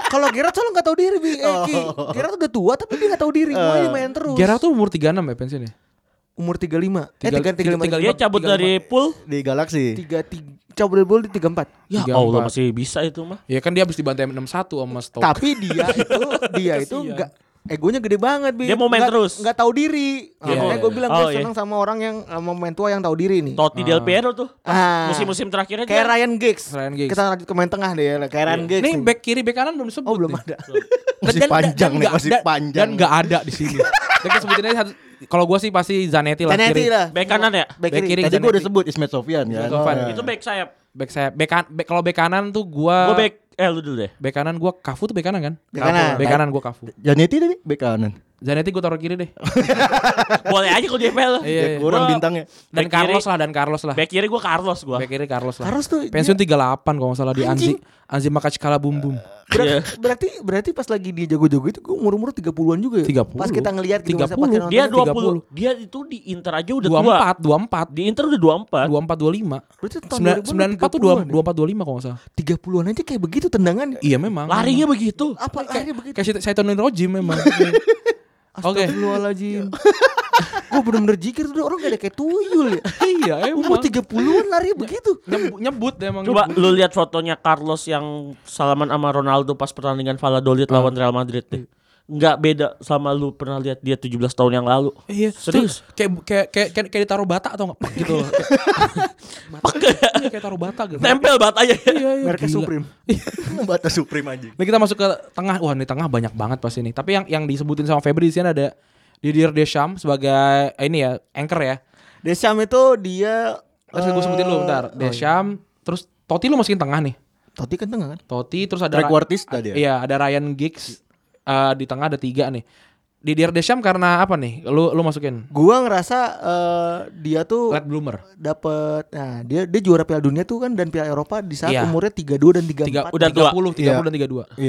kalau Gerard soalnya nggak tahu diri, Bi. Eh, Ki. Gerard udah tua tapi dia nggak tahu diri. Gua yang main terus.
Gerard tuh umur 36 ya pensiunnya.
umur 35. Eh
Tiga-
3 35.
Dia cabut dari pool.
Di Galaxy.
33 cabut dari bola di 34.
Ya
34.
Allah masih bisa itu mah.
Ya kan dia habis dibantai 61 sama Stoke.
[laughs] Tapi dia itu dia itu
Kasian.
enggak egonya gede banget Bi.
Dia mau main
Nggak-
terus.
nggak tahu diri.
Iya, iya,
Makanya gue
iya.
bilang gue
Oh, iya.
seneng sama orang yang sama main tua yang tahu diri nih.
Totti Del Piero tuh.
Ah.
Pas Musim-musim terakhirnya
Kayak
dia.
Ryan Giggs.
Ryan Giggs.
Kita lanjut ke main tengah deh. ya. Kayak Ryan Giggs.
Nih
nih.
back kiri back kanan belum disebut.
Oh belum
nih.
ada.
Masih
Dan- dan-
panjang
dan
nih,
nggak-
masih
dan-
panjang.
Dan enggak ada di [laughs] sini. Dan kita sebutin aja satu kalau gua sih pasti Zanetti lah
Zanetti
kiri.
lah.
Back kanan ya?
Back
Back
kiri.
kiri.
Tadi
Zanetti.
gue udah sebut Ismet Sofyan ya.
Sofyan.
Nah.
Itu back sayap.
Back saya back kan back- kalau back kanan tuh
Ah.
gua
Gue back eh lu dulu deh.
back kanan gua Kafu tuh back kanan kan?
Back kanan.
Back kanan gua Kafu.
Janetti tadi bek kanan.
Zanetti gua taruh kiri deh.
Boleh aja kalau dia PL.
Iya,
Ya,
iya.
kurang
Gua-
bintangnya.
Dan
[laughs] Back kiri.
Carlos lah dan Carlos lah.
Back kiri gue Carlos gue.
Back kiri Carlos lah.
Harus tuh.
Pensiun 38 kalau nggak salah di Anzi Anzi Makachkala Bum
Eh,
Bum. Iya.
Berarti, berarti berarti pas lagi dia jago-jago itu gue umur-umur 30-an juga ya.
30.
Pas kita ngelihat gitu masa pas
30.
kita nonton
Dia
itu.
30.
20. Dia itu di Inter aja udah tua.
24 24
Di Inter udah 24.
24 25.
Berarti tahun 2000
94 tuh
30-an ya.
24 25 kalau nggak salah.
30-an aja kayak begitu tendangan.
Iya memang.
Larinya begitu.
Apa akhirnya begitu?
gitu.
Kayak saya tonin Roji
[laughs]
memang. Oke. Iya.
Astagfirullahaladzim Gue bener-bener jikir tuh orang gak ada kayak tuyul ya
[laughs] Iya emang. Iya.
Umur 30an lari begitu
Nyebut, nyebut deh emang.
Coba
nyebut.
lu lihat fotonya Carlos yang salaman sama Ronaldo pas pertandingan Valladolid lawan Real Madrid deh. Nggak beda sama lu pernah lihat dia 17 tahun yang lalu.
Iya,
Serius.
serius. Kayak kayak kayak kayak, kayak ditaruh bata atau enggak? gitu loh. Kayak, bata. Iya, kayak taruh bata gitu.
Tempel batanya.
Iya, iya.
Mereka
gila.
Supreme
Batas Supreme aja.
Ini kita masuk ke tengah. Wah, ini tengah banyak banget pas ini. Tapi yang yang disebutin sama Febri di sini ada Didier Deschamps sebagai eh, ini ya, anchor ya.
Desham itu dia
Terus gue sebutin dulu bentar. Deschamps, terus Totti lu masukin tengah nih.
Toti kan tengah kan
Totti terus ada
Trequartista dia.
Iya, ada Ryan Giggs eh, di tengah ada tiga nih. Didier Deschamps karena apa nih? Lu lu masukin
Gua ngerasa eh, dia tuh
late bloomer.
dapet Nah dia dia juara Piala Dunia tuh kan Dan Piala Eropa di saat
Iya.
umurnya 32 dan 34
Tiga,
udah tua.
30, 30
Iya.
dan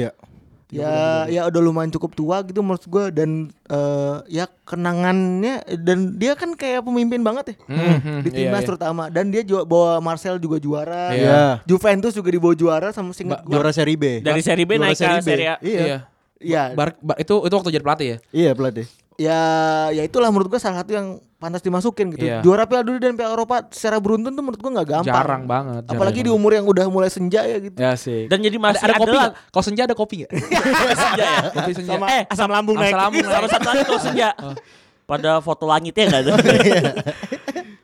32.
Iya.
Ya ya udah lumayan cukup tua gitu menurut gua Dan eh, ya kenangannya Dan dia kan kayak pemimpin banget ya
Hmm,
di
iya,
timnas
iya.
terutama dan dia juga bawa Marcel juga juara
Iya.
Juventus juga dibawa juara sama
Ba-
singkat gua
Juara seri B.
[laughs] Dari seri B
Juara
naik ke Serie A.
Iya.
Iya.
ya
Bar- bar- itu itu waktu jadi pelatih ya.
Iya pelatih.
ya ya itulah menurut gua salah satu yang pantas dimasukin gitu
Iya.
juara Piala Dunia dan Piala Eropa secara beruntun tuh menurut gua nggak gampang
Jarang banget. jarang
apalagi di
banget.
umur yang udah mulai senja ya gitu
Ya sih.
Dan jadi masih
ada, ada kopi
adalah-
nggak? Kalau senja ada kopi [laughs] nggak? senja ya. Kopi senja.
eh asam lambung
Asam
naik. Oh.
lambung naik.
Sama satu lagi kalau senja. Pada foto ya langitnya enggak ada. [laughs]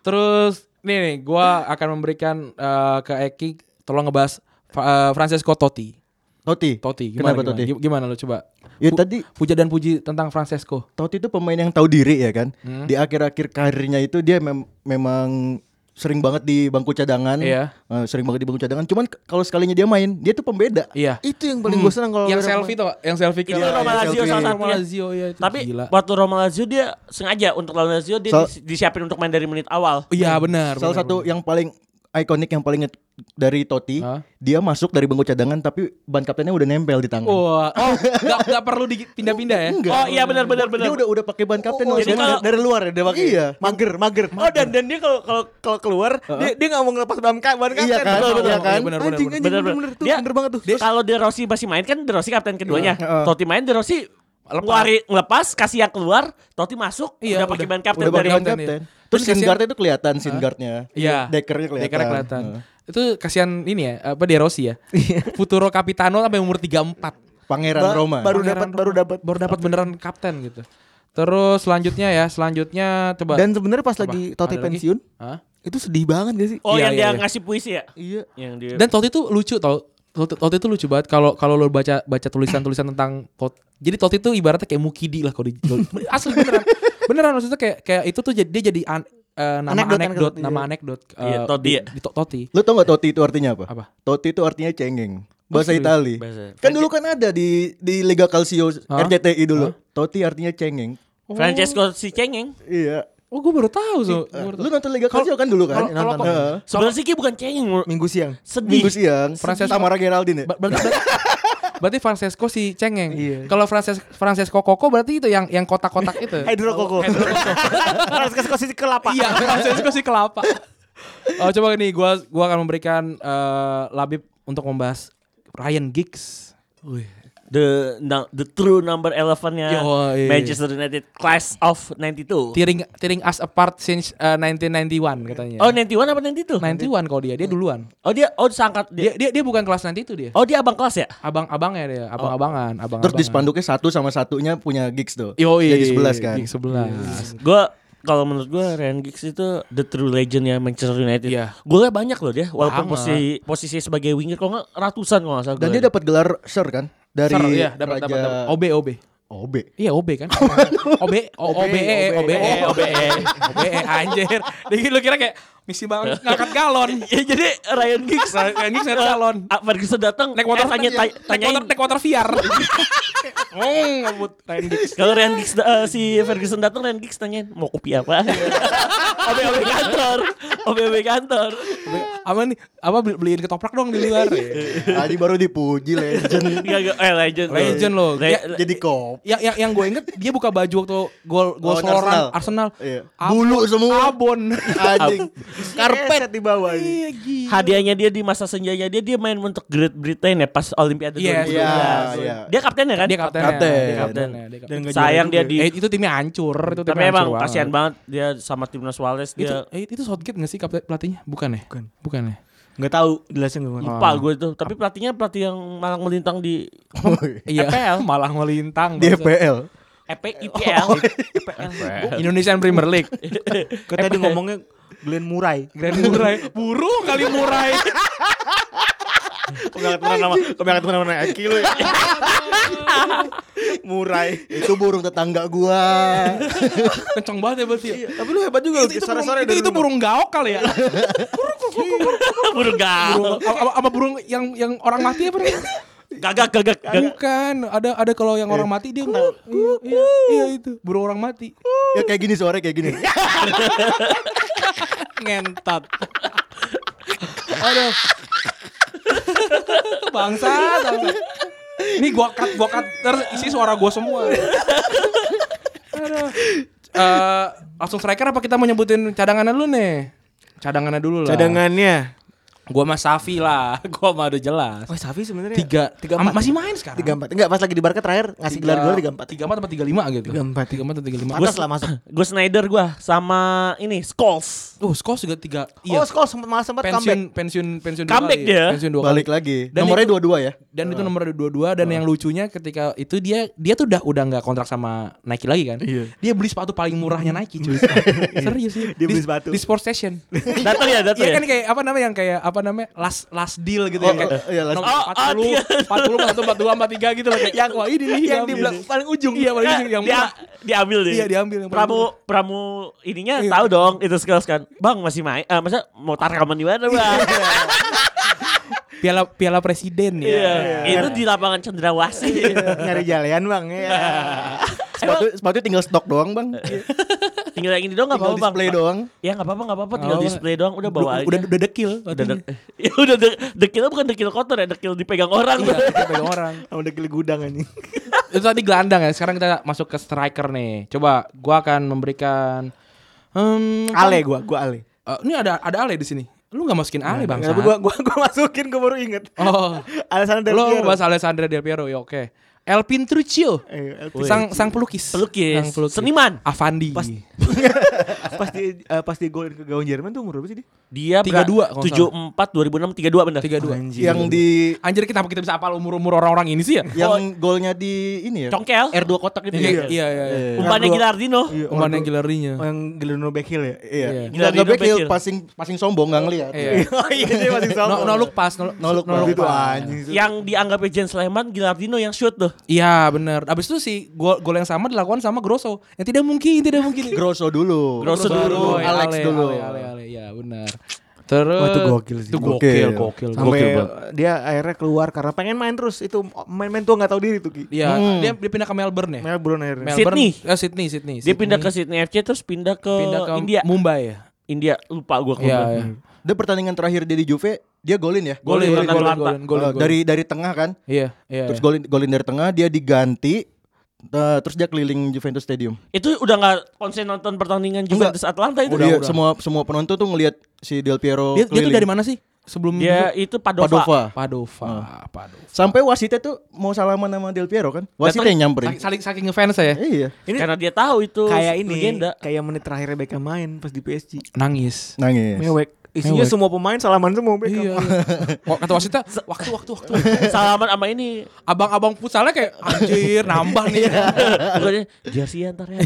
Terus nih nih, gue [laughs] akan memberikan eh, ke Eki tolong ngebahas Fra- eh, Francesco Totti.
Totti.
Totti, gimana,
Kenapa
gimana?
Totti?
Gim- Gimana lu coba?
Ya
Pu-
tadi
puja dan puji tentang Francesco.
Totti itu pemain yang tahu diri ya kan.
Hmm.
Di akhir-akhir karirnya itu dia mem- memang sering banget di bangku cadangan.
Iya.
Eh, sering banget di bangku cadangan. Cuman k- kalau sekalinya dia main, dia tuh pembeda.
Iya.
itu yang paling gua senang kalau
Yang
ada
selfie tuh, yang
Iya,
selfie
Itu Roma Lazio salah
Roma
satunya.
Lazio ya itu.
Tapi
gila.
waktu Roma Lazio dia sengaja untuk lawan Lazio dia
So-
disi- disiapin untuk main dari menit awal.
Iya benar. benar,
Salah satu yang paling ikonik yang paling nge- dari Totti,
Hah?
dia masuk dari bangku cadangan tapi ban kaptennya udah nempel di tangan.
benar. Wah, oh, nggak nggak perlu dipindah-pindah ya.
Enggak.
Oh iya benar benar benar.
Dia udah udah pakai ban kapten
Oh,
langsung.
jadi kalau-
dari luar ya dia pakai. Iya.
mager mager
Oh dan dan dia kalau kalau kalau keluar
dia dia nggak mau ngelepas ban kan ban kan
Iya kan?
betul, betul.
Iya kan?
Benar, benar,
anjing
benar.
anjing
Bener
bener
bener.
bener tuh
Dia-
bener banget tuh
Kalau De Rossi masih main kan De Rossi kapten keduanya. Totti main De Rossi
Iya, Lepas.
ngeluarin- lepas kasih yang keluar, Totti masuk
Iya,
udah pakai
udah.
ban kapten
Dari
Udah pakai
dari
ban
kapten,
kapten.
iya.
Terus
Terus
sin
kasihan-
guardnya itu kelihatan sin guardnya.
Iya.
Deckernya kelihatan.
Dekkernya kelihatan.
Heeh.
Itu kasihan ini ya, apa De Rossi ya.
Iya.
Futuro Capitano sampai umur 34.
Pangeran
Ba-
Roma.
Baru
Pangeran
dapat
Roma.
baru dapat
baru dapat beneran kapten gitu. Terus selanjutnya ya, selanjutnya coba
Dan sebenarnya pas
Apa?
lagi
Ada
Totti
lagi?
pensiun,
Hah?
itu sedih banget gak sih?
Oh
Iya,
yang
iya,
dia
iya.
ngasih puisi ya?
Iya.
Yang dia
Dan Totti tuh lucu tau. Totti, Totti tuh lucu banget kalau kalau lo baca baca tulisan-tulisan tentang Totti. Jadi Totti tuh ibaratnya kayak Mukidi lah kalau di asli beneran. beneran maksudnya kayak kayak itu tuh jadi dia jadi an- eh, nama
Anekdot,
anekdot,
anekdot,
nama
iya.
anekdot eh,
Iya, Totti
di-
ya.
di To- Totti.
Lu tau gak Totti itu artinya apa?
Apa? Oh,
Totti itu artinya cengeng. Bahasa
serius?
Itali.
Bahasa-
Kan dulu kan ada di di Liga Calcio
Hah?
RCTI dulu. Totti artinya cengeng.
Oh. Francesco si cengeng.
Iya.
Oh, gue baru tahu
Iya.
so.
Eh, Lu nonton Liga Calcio kan dulu kan?
kalau- kalau-
Nonton. Heeh.
Sebenarnya sih dia bukan cengeng, menurut-
Minggu siang.
sedih.
Minggu siang
Francesco-
Samara Geraldine ya?
Ba-
[laughs]
berarti, berarti, berarti Francesco si cengeng.
Iya.
Kalau Frances, Francesco Coco berarti itu yang yang kotak-kotak itu.
Hydro
Oh,
Koko.
[laughs]
Francesco si kelapa.
Iya, Francesco si kelapa. [laughs] Oh, coba nih gua gua akan memberikan eh, Labib untuk membahas Ryan Giggs.
The na- the true number
iya,
11-nya
Yoi.
Manchester United class of 92.
Tearing tearing us apart since eh, 1991 katanya.
Oh 91 apa 92?
91 kalau dia, dia duluan.
Oh dia oh seangkat
Dia
dia.
dia dia bukan kelas 92 dia.
Oh dia abang kelas ya?
Abang-abangnya dia, abang-abangan, abang
Terus di spanduknya satu sama satunya punya gigs tuh.
Yoi.
Jadi 11 kan.
Giggs 11.
Gua kalau menurut gua Ryan Giggs itu the true legend ya Manchester United.
Iya.
Golnya banyak loh dia walaupun
Banget.
posisi posisi sebagai winger kalau nggak ratusan kalau nggak salah. ya.
Dan
golnya.
dia dapat gelar Sir kan dari
Ser, iya, dapat
Raja
dapat dapat. OB OB.
OB.
Iya OB
[laughs]
kan OB O- E, OBE
E.
OBE OBE
Oh.
OBE E. anjir Dikit lu kira kayak Misi banget ngangkat galon
[laughs] ya jadi Ryan Giggs
Ryan Giggs ngangkat galon
Ah, Ferguson datang
Naik motor ya.
eh, tanya, tanya,
Naik motor
tanyain
Naik motor
[laughs]
VR
Oh,
Ngomong ngebut Ryan Giggs
kalau Ryan Giggs da- eh, si Ferguson datang Ryan Giggs tanyain mau kopi apa? [laughs] OBW kantor, OBW kantor.
Apa nih Apa beli- beliin ketoprak dong di luar
Tadi baru dipuji legend.
Enggak, enggak, eh legend. loh.
Legend loh.
Le-
Ya,
Jadi kop.
yang yang, yang gue inget dia buka baju waktu gol gol
Lawan
seloran Arsenal,
Iya.
Ab-
Bulu semua.
Abon
Anjing.
Karpet Iya, di bawah ini.
Iya gila.
hadiahnya dia di masa senjanya dia dia main untuk Great Britain ya pas Olimpiade
Yes.
2012.
Iya, iya.
Dia kaptennya kan?
Dia kapten
Kapten.
Dia kaptennya, dia kapten.
Dan nggak
Sayang
juara
dia
juga.
di
Eh, itu timnya hancur itu
Tapi
timnya
emang
hancur
kasihan
banget.
banget dia sama timnas Wales
itu
dia
eh, itu Southgate nggak sih kapten pelatihnya bukan ya
Bukan.
bukan ya
Nggak tahu jelasnya
[laughs]
gimana.
lupa gue tuh. Tapi pelatihnya pelatih yang malang melintang di
iya [laughs] malah melintang
Di
bangsa.
EPL.
EP IPL. [laughs] IPL.
Indonesian Premier League
Kayak kan tadi ngomongnya Glenn
[laughs]
Murray.
Grand Murai burung kali Murai
Kau teman nama, kau teman nama Eki lu ya. Murai.
Itu burung tetangga
[laughs]
gua.
kenceng banget ya berarti ya.
Tapi lu hebat juga.
itu, itu, burung, itu, itu burung gaok kali ya
Burung
burung sama sama burung yang yang orang mati apa namanya?
Gagak gagak gagak.
bukan ada ada kalau yang orang mati dia nggak iya, iya, iya itu burung orang mati
ya kayak gini suaranya
[laughs]
kayak gini. Ya,
ngentot aduh bangsa bangsa. ini gua cut gua cut terus isi suara gua semua aduh Eh, langsung striker apa kita mau nyebutin cadangannya dulu nih cadangannya dulu lah
Cadangannya.
gua sama Safi lah [laughs] gua mah udah jelas
Wah Safi sebenarnya.
tiga tiga
empat.
masih main sekarang
tiga empat. Enggak pas lagi di Barca terakhir ngasih gelar gelar tiga empat.
tiga empat atau tiga lima gitu
Tiga empat.
tiga empat atau tiga lima
Pantas lah masuk.
Gue Snyder gue sama ini Scholes.
oh Scholes juga tiga
Oh
iya
Skol sempat malah sempat comeback.
pensiun pensiun pensiun dua
Comeback
kali.
dia.
pensiun dua kali
Balik lagi.
Dan
Nomornya
itu-
dua-dua
[laughs]
ya.
dan itu nomor 22 dan yang lucunya ketika itu dia dia tuh udah udah nggak kontrak sama Nike lagi kan dia beli sepatu paling murahnya Nike cuy serius sih
Dia beli sepatu.
di Sport Station
Datang ya datang.
Iya
ya.
kan kayak apa namanya yang kayak apa namanya last last deal gitu
Oh,
yang kayak
oh, iya, last
nomor
deal.
40 40 41 42 43 gitu loh kayak yang wah ini nih
Yang di belakang paling ujung.
iya paling ujung yang
dia,
murah
diambil dia.
Iya, diambil yang paling
pramu pramu ininya tahu dong itu skills kan. Bang masih main. eh masa mau tarkaman di mana, Bang?
piala piala presiden ya
Iya. Itu di lapangan Cendrawasih.
Nyari jalean bang. Iya.
Sepatu sepatu tinggal stok doang,
[laughs]
Bang.
tinggal yang ini doang enggak apa-apa, Bang.
Tinggal display doang.
Ya enggak apa-apa, enggak apa-apa, tinggal
Nggak
display doang udah bawa aja.
udah udah dekil
udah de- [laughs] ya, udah de- dekilnya bukan dekil kotor ya, dekil dipegang orang.
iya kita pegang orang
Udah geli gudang anjing.
itu tadi gelandang ya. Sekarang kita masuk ke striker nih. Coba gua akan memberikan hmm,
Ale gua, gua Ale.
Eh, ini ada ada Ale di sini. Lu nggak masukin Ale bang?
Tapi gua gua gua masukin gua baru inget.
Oh.
[laughs] Alasan dari
Lu
Piero. [laughs]
bahas Alessandro Del Piero. Ya oke. Eh Elpin Truccio.
Eh, El Pin-
Sang sang pelukis.
Pelukis,
Sang pelukis.
seniman.
Avandi.
Pas- pasti pasti golin ke gawang Jerman tuh umur berapa sih dia?
[laughs] Dia
32 kalau nggak
puluh 74 2006 32 benar.
32.
Anjing.
yang di
Anjir kenapa kita bisa apal umur-umur orang-orang ini sih ya?
yang golnya di ini ya.
Congkel.
R2 kotak itu.
Iya
ya?
iya iya.
Iya.
Umpannya
Dua.
Gilardino.
Iya, orang
Umpannya
dua-
Gilarinya.
Oh, yang Gileno Beckhil ya?
Iya.
Iya.
Nggak nggak
Gila,
bekil
gila.
passing passing sombong nggak ngeliat. [laughs]
Iya.
Oh iya dia
[laughs]
masih sama.
No, no look pass, no,
No look pass.
itu
Gitu,
anjing. sih.
Yang dianggap Jen Sleman Gilardino yang shoot tuh.
Iya benar. Abis itu sih gol gol yang sama dilakukan sama Grosso. Yang tidak mungkin, tidak mungkin.
[laughs] Grosso dulu.
Grosso dulu.
Roy,
Alex
Ale,
dulu.
Ale, Ale, Ale. Ya benar. Terus
Wah, itu gokil sih.
Itu gokil, gokil.
Sampai
Gokil banget.
dia akhirnya keluar karena pengen main terus itu main-main tua nggak tahu diri tuh Ki.
Iya, dia, dia pindah ke Melbourne ya?
Melbourne akhirnya.
Melbourne.
Sydney.
Eh, Sydney, Sydney.
Dia pindah ke Sydney FC terus pindah ke,
pindah ke
India.
Mumbai ya.
India lupa gua
Iya,
klubnya.
iya.
Dia pertandingan terakhir dia di Juve, dia golin ya.
Golin, golin,
lawan
golin,
Atlanta.
golin, golin,
Eh, dari dari tengah kan.
Iya, iya.
Terus golin golin dari tengah dia diganti eh, terus dia keliling Juventus Stadium.
Itu udah nggak konsen nonton pertandingan Juventus Atlanta
Ah,
itu.
dia Oh, Iya, semua semua penonton tuh ngelihat si Del Piero
Dia, dia tuh
keliling.
dari mana sih? Sebelum
Dia itu Padova.
Padova.
Padova, Padova.
Sampai wasitnya tuh mau salaman sama Del Piero kan. Wasitnya yang nyamperin.
Saling saking ngefans saya.
Iya.
Ini
Karena dia tahu itu
kayak ini
legenda.
kayak menit terakhirnya Beckham main pas di PSG.
Nangis.
Nangis.
Mewek.
Mewek.
Isinya semwa semua pemain salaman semua Beckham.
Iya. [laughs] Kok kata wasitnya waktu waktu waktu.
[laughs] Salaman sama ini.
Abang-abang futsalnya kayak anjir nambah nih.
Iya. Bukannya jersey antar ya.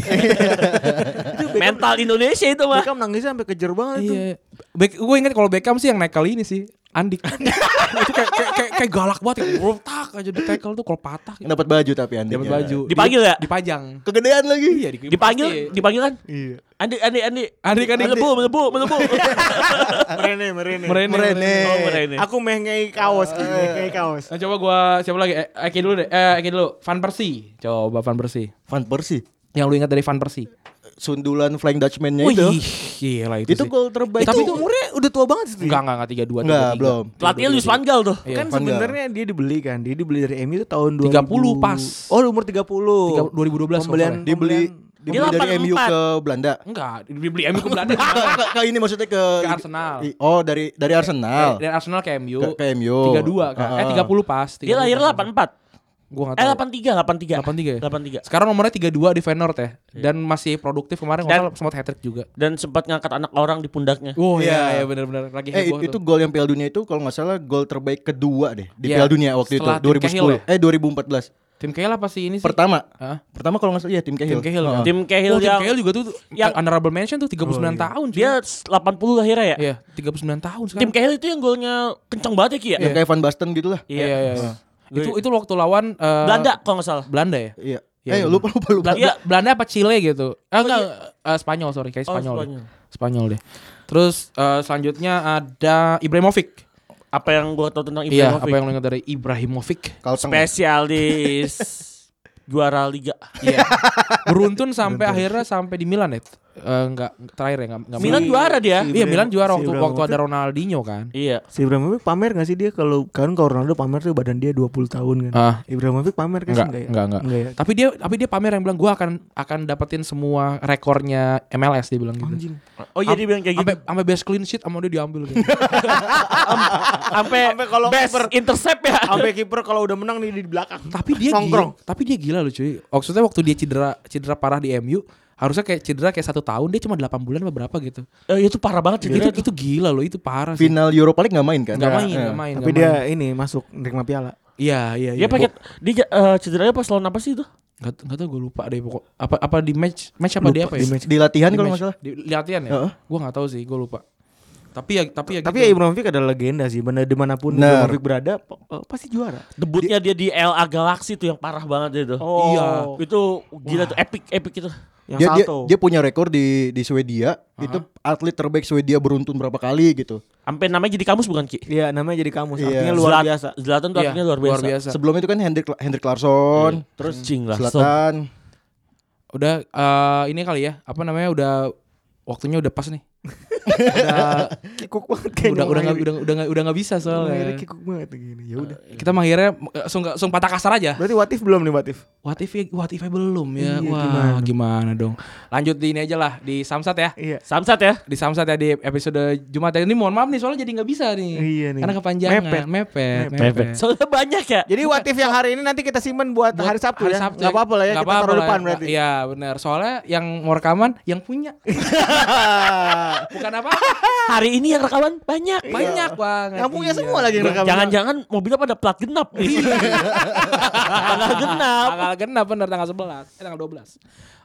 [laughs] Mental Indonesia itu mah.
Beckham nangisnya sampai kejer banget itu.
Iya. Back, gue inget kalau Beckham sih yang naik kali ini sih. Andik. itu kayak, kayak, kayak, kayak galak banget. Kayak "Wup, tak aja di tackle tuh kalau patah. Gitu.
Dapat baju tapi Andi.
Dapat baju.
Dipanggil ya?
Dipajang.
Kegedean lagi.
Iya, di-
Dipanggil,
pasti.
dipanggil kan?
Iya.
Andi, Andi, Andi.
Andi, Andi.
Melebu, melebu,
[laughs]
melebu.
Merene, merene.
Merene. merene.
Merene.
Oh, mereka ini.
Aku mengei kaos, Ki, mengei kaos.
Nah, coba gua siapa lagi? Eh, Eki dulu deh. Eh, Eki dulu. Van Persie. Coba Van Persie.
Van Persie.
Yang lu ingat dari Van Persie.
Sundulan Flying Dutchman-nya
Wih,
Ya itu.
gila itu,
Itu
sih. Eh,
gol terbaik.
Tapi itu
umurnya udah tua banget sih.
enggak enggak enggak 32
enggak
33.
belum.
Pelatihnya Luis Van Gaal tuh.
Iya.
Kan
Van Gaal.
sebenarnya dia dibeli kan. Dia dibeli dari MU itu tahun 2000.
30 pas.
Oh, umur 30.
Tiga- 2012 kalau
Pembelian
nggak ya.
Dibeli
pembelian-
dibeli dari
84.
MU ke Belanda.
Enggak, dibeli MU ke Belanda.
Ke, ke- ke ini maksudnya ke,
Ke Arsenal. Eh,
I- Oh, dari dari Arsenal.
Dari Arsenal ke MU.
Ke- ke MU.
32 kan. Eh
Ah.
30 pas.
Dia lahir
84.
84.
Gua enggak
Eh
tahu.
83, 83.
83 ya?
83.
Sekarang nomornya 32 di Feyenoord ya. Dan masih produktif kemarin nggak salah
Dan-
sempat hat-trick juga.
Dan sempat ngangkat anak orang di pundaknya.
Oh
Iya.
iya, iya benar-benar lagi
Eh
heboh
itu
tuh.
gol yang Piala Dunia itu kalau nggak salah gol terbaik kedua deh di
Iya,
Piala Dunia waktu itu
setelah Tim
2010
Cahill ya?
eh 2014
tim Cahill apa sih ini sih?
pertama
Hah?
pertama kalau nggak salah ya tim Cahill.
Tim Cahill.
Heeh.
kan?
Tim Cahill
Oh, Tim
yang-
Cahill juga tuh
yang-
honorable mention tuh 39 tahun. cuy.
Dia 80 lahirnya ya.
Iya, 39 tahun
Tim
sekarang.
Cahill itu yang golnya kencang banget ya Ki ya.
Yang kayak Van Basten gitu lah.
Iya, iya, iya.
Gue-
Itu itu waktu lawan eh,
Belanda kalau nggak salah.
Belanda ya?
Iya.
Iya,
eh
bener.
lupa lupa lupa.
Bel- Bel-
Iya.
Belanda apa Chile gitu? Eh, enggak, eh, Spanyol sorry, kayak
Oh,
Spanyol. deh.
Spanyol.
Spanyol. deh. Terus eh, selanjutnya ada Ibrahimovic.
Apa yang gua tahu tentang
Iya, apa
Ibrahimovic?
yang lo ingat dari Ibrahimovic?
Kalteng.
Spesialis juara liga.
Iya. [laughs] Beruntun sampai akhirnya sampai di Milan ya. Eh, enggak terakhir ya enggak, enggak
Milan
menang.
juara dia.
Iya, Milan juara
Si
waktu
Ibrahimovic.
waktu ada Ronaldinho kan.
Iya.
Si Ibrahimovic pamer gak sih dia kalau kan kalau Ronaldo pamer tuh badan dia 20 tahun kan.
Ah.
Ibrahimovic pamer kan
Enggak,
sih? ya?
enggak, enggak.
ya?
Tapi dia tapi dia pamer yang bilang gua akan akan dapetin semua rekornya MLS dia bilang gitu.
Anjing.
Oh iya dia bilang kayak gitu.
Sampai sampai best clean sheet sama dia diambil gitu.
Sampai
kalau
best intercept ya.
Sampai kiper kalau udah menang nih di belakang.
tapi dia
Nongkrong.
gila, tapi dia gila loh cuy. Maksudnya waktu dia cedera cedera parah di MU, harusnya kayak cedera kayak satu tahun dia cuma 8 bulan apa berapa gitu.
Eh, itu parah banget cedera
Itu
itu.
itu gila loh, itu parah sih.
Final Europa League nggak main kan?
Enggak main,
Iya.
enggak main.
Tapi
nggak main.
dia ini masuk nerima piala.
Iya, iya, iya.
Dia pakai dia eh, cederanya pas lawan apa sih itu?
Gak, gak tau gue lupa deh pokok apa apa di match match apa
Lupa
dia apa ya?
di match.
Di latihan
Di
kalau
match.
nggak salah.
Di latihan ya?
Heeh.
Gue nggak tahu sih, gue lupa. Tapi ya tapi ya
Tapi ya
gitu.
Ibrahimovic adalah legenda sih. Benar dimanapun
Benar.
Ibrahimovic berada po- eh, pasti juara.
Debutnya dia di LA Galaxy tuh yang parah banget itu.
Iya.
Itu gila tuh epic epic itu.
Yang
Dia, dia,
salto.
dia punya rekor di di Swedia itu atlet terbaik Swedia beruntun berapa kali gitu.
Sampai namanya jadi kamus bukan Ki?
Iya namanya jadi kamu.
Iya.
Artinya
[laughs]
luar
Zlat-
biasa.
Zlatan tuh
Iya,
artinya luar biasa.
Sebelum itu kan Hendrik Hendrik Larsson,
Terus cing lah.
Selatan.
Udah eh, ini kali ya, apa namanya udah waktunya udah pas nih. udah
kikuk banget
udah udah
kayaknya orang
nggak
ini.
udah udah nggak- udah nggak bisa
Orang ini
soalnya
kikuk banget gini ya udah
kita mah akhirnya eh, langsung nggak- langsung patah kasar aja
berarti watif belum nih watif
what if what if belum ya
Iya,
wah gimana? dong lanjut di ini aja lah di samsat ya
iya
Samsat ya.
di samsat ya di episode jumat ya. ini mohon maaf nih soalnya jadi nggak bisa nih
Iya nih.
karena kepanjangan
Mepet.
mepet mepet,
Soalnya banyak ya.
jadi watif yang hari ini nanti kita simpen buat,
Buat
hari Sabtu ya
Sabtu
nggak apa-apa lah ya
Nggak
kita taruh
apa-apa lah
depan
ya.
berarti [laughs]
Iya benar. Soalnya yang mau rekaman yang punya. Bukan
[laughs]
apa?
Hari ini yang rekaman banyak.
Banyak banget.
Iya. yang punya
Iya.
semua lagi yang rekam
Jangan-jangan mobilnya pada plat genap nih. Plat genap.
Tanggal genap bener tanggal 11 eh tanggal 12.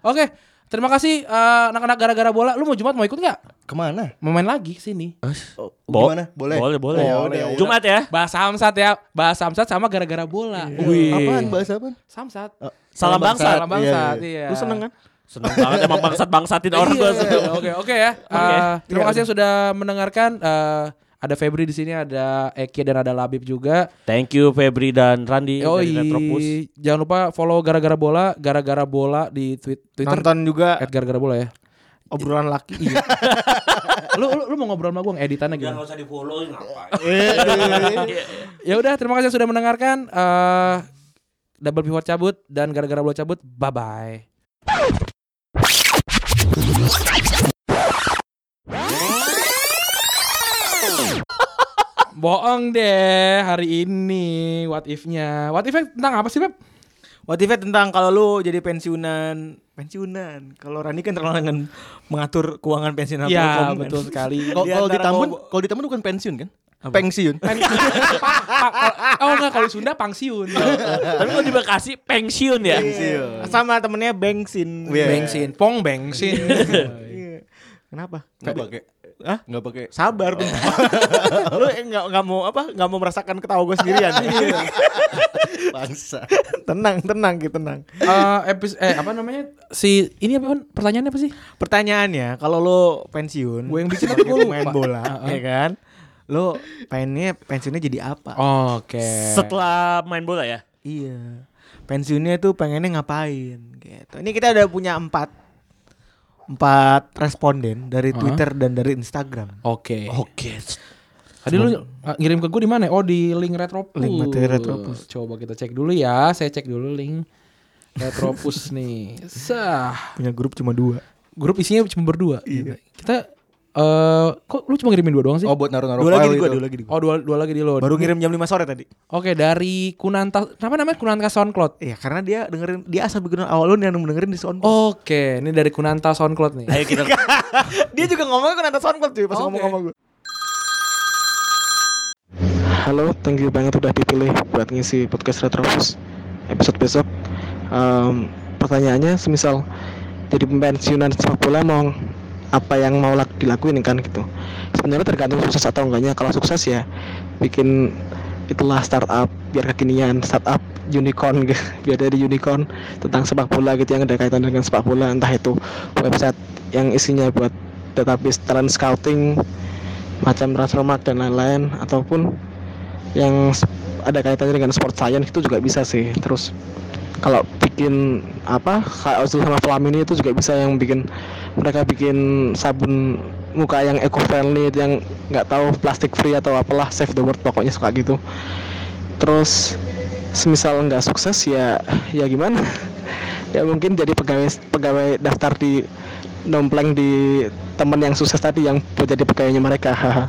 Oke, terima kasih eh, anak-anak gara-gara bola. Lu mau Jumat mau ikut nggak?
Kemana?
Mau main lagi ke sini.
Oh,
Bo-
gimana? Boleh.
Boleh, boleh.
Oh, udah, udah.
Jumat ya.
Bahas Samsat ya. Bahas Samsat sama gara-gara bola.
Apaan bahasa apaan?
Samsat.
Salam bangsat.
Salam bangsat.
Iya,
Iya.
lu seneng kan
Seneng banget emang
[laughs]
bangsat-bangsatin orang
Iya,
gua.
Oke, oke ya.
Oke.
Eh, terima kasih yang sudah mendengarkan. Eh, ada Febri di sini, ada Eki dan ada Labib juga.
Thank you Febri dan
Yoi.
Randi Iya, dari Retropus.
Jangan lupa follow gara-gara bola, gara-gara bola di tweet, Twitter. Iya.
nonton juga
At gara-gara bola ya.
obrolan laki [laughs]
lu, lu lu mau ngobrol sama gue editannya gitu.
usah di follow ngapain.
[laughs] Ya udah, terima kasih sudah mendengarkan. Eh, double pivot cabut dan gara-gara bola cabut. Bye bye. [laughs] Boong deh hari ini what if-nya. What if tentang apa sih, Beb?
Motifnya tentang kalau lu jadi pensiunan, pensiunan. Kalau Rani kan terkenal dengan mengatur keuangan pensiunan.
Iya,
Telkom, kan?
betul sekali.
Kalau
Di
kalau di
antara
Tambun,
gua-
kalau di Tambun bukan pensiun kan? [laughs] Pensiun.
Oh enggak kalau di Sunda pangsiun.
Tapi kalau di Bekasi pensiun ya.
Sama temennya bensin.
[laughs] Iya.
Bensin, pong bensin.
[laughs]
Iya. Kenapa?
Enggak pakai.
Hah?
Enggak pakai.
Sabar. Bang. [laughs] lu eh, nggak nggak mau apa? Nggak mau merasakan ketawa gue [laughs] sendirian.
Bangsa.
tenang, tenang, gitu tenang.
Eh epis eh apa namanya? Si ini apa Hon? pertanyaannya apa sih?
Pertanyaannya, kalau lu pensiun,
Gua yang bikin
[laughs]
apa
sebagai
gua lupa?
pemain bola, ya kan? Lu pengennya pensiunnya jadi apa?
Oke.
Setelah main bola ya.
Iya. Pensiunnya tuh pengennya ngapain gitu. Ini kita udah punya empat empat responden dari Twitter dan dari Instagram.
Oke.
Oke.
Tadi lu uh, ngirim ke gue di mana? Oh di link Retropus.
Link materi Retropus.
Coba kita cek dulu ya. Saya cek dulu link Retropus nih. Sah.
Punya grup cuma dua.
Grup isinya cuma berdua. Kita eh kok lu cuma ngirimin dua doang sih?
Oh buat naruh-naruh
Dua lagi
file
di gua,
itu.
dua lagi di gua.
Oh, dua, dua lagi di load.
Baru ngirim jam 5 sore tadi.
Oke, dari Kunanta. Kenapa namanya Kunanta SoundCloud?
Iya, karena dia dengerin dia asal bikin awal lu yang dengerin di soundcloud.
Oke, ini dari Kunanta SoundCloud nih.
Ayo kita
Dia juga ngomongnya kan ada soundcloud cuy
Oke.
pas ngomong sama gue.
Halo, thank you banget udah dipilih buat ngisi podcast Retrofus episode besok. Em, pertanyaannya semisal jadi pensiunan sepak bola mau apa yang mau lak- dilakuin kan gitu. Sebenarnya tergantung sukses atau enggaknya. Kalau sukses ya bikin itulah startup biar kekinian startup unicorn [laughs] gitu. biar dari unicorn tentang sepak bola gitu yang ada kaitan dengan sepak bola entah itu website yang isinya buat database talent scouting macam transfer market dan lain-lain ataupun yang s- ada kaitannya dengan sport science itu juga bisa sih terus kalau bikin apa kayak Ozil sama Flamini itu juga bisa yang bikin mereka bikin sabun muka yang eco friendly yang nggak tahu plastik free atau apalah save the world pokoknya suka gitu terus semisal nggak sukses ya ya gimana [laughs] ya mungkin jadi pegawai pegawai daftar di nompleng di teman yang sukses tadi yang buat jadi pegawainya mereka haha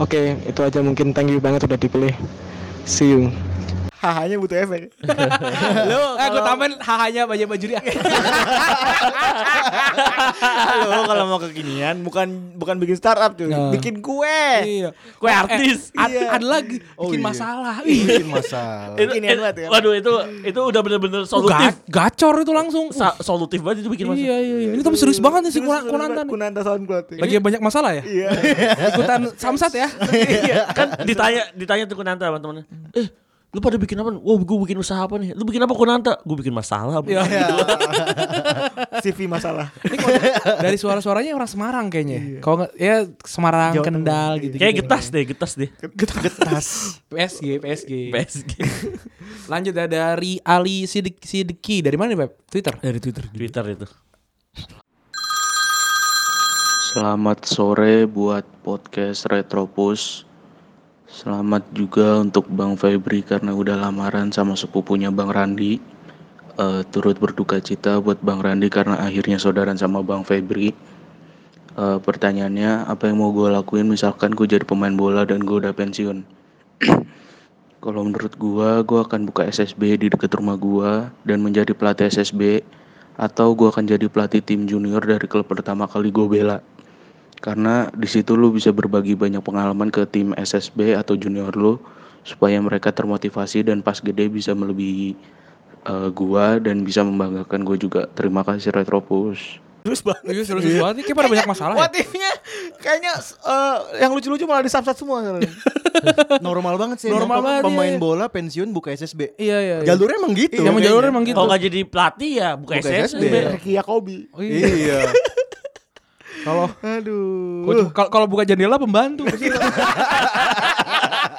Oke, itu aja mungkin thank you banget udah dipilih. See you.
Hahanya butuh efek. [laughs]
eh, gue tambahin hahanya banyak bajuri ya.
Halo, kalau mau kekinian bukan bukan bikin startup cuy,
Nah.
bikin kue.
[laughs] Iya.
Gue artis.
Ad-
Iya.
Ada lagi bikin
iya.
masalah. Ih.
Bikin masalah.
Itu-
Ginian
itu-
banget ya.
Waduh itu itu udah bener-bener solutif.
Ga- gacor itu langsung.
Sa- solutif banget itu bikin masa.
iya, iya, iya. Ini tapi serius banget nih si Kuna- Kunanta nih.
Kunanta soundcloud. cuy.
Lagi banyak masalah ya?
Iya.
Ikutan samsat ya?
Iya, kan ditanya ditanya tuh Kunanta sama temennya. Eh, lu pada bikin apa? Wah, gue bikin usaha apa nih? Lu bikin apa Kunanta? Gue bikin masalah.
Iya.
Bro.
[laughs] Iya. CV masalah.
Ini kalau dari suara-suaranya orang Semarang kayaknya. Kalau nggak ya Semarang,
Jawa Tengah,
Kendal
iya.
gitu.
Kayak getas deh, getas deh.
Getas.
PSG, PSG.
PSG.
[laughs] Lanjut ada dari Ali Sidik Sidiki dari mana nih, Beb? Twitter.
Dari Twitter. Twitter itu.
Selamat sore buat podcast Retropus. Selamat juga untuk Bang Febri karena udah lamaran sama sepupunya Bang Randi. Eh, turut berduka cita buat Bang Randi karena akhirnya saudaran sama Bang Febri. Eh, pertanyaannya, apa yang mau gue lakuin misalkan gue jadi pemain bola dan gue udah pensiun? Kalau menurut gue, gue akan buka SSB di dekat rumah gue dan menjadi pelatih SSB atau gue akan jadi pelatih tim junior dari klub pertama kali gue bela karena di situ lu bisa berbagi banyak pengalaman ke tim SSB atau junior lu supaya mereka termotivasi dan pas gede bisa melebihi eh, gua dan bisa membanggakan gue juga. Terima kasih Retropus.
[laughs] Iya, serius banget nih. Kayak pada banyak masalah ya.
What if-nya kayaknya eh, yang lucu-lucu malah disapsat semua.
Normal banget sih.
Normal
emang
banget,
Pemain
iya.
bola pensiun buka SSB.
Iya, iya. iya.
Jalurnya emang gitu.
Iya, emang
kayaknya.
jalurnya emang gitu.
Kalau nggak jadi pelatih ya buka,
Buka
SS.
SSB.
Beb.
Ricky Yakobi.
Oh, iya.
Iya.
Kalau
Aduh.
Gua- kalau kalau buka jendela pembantu.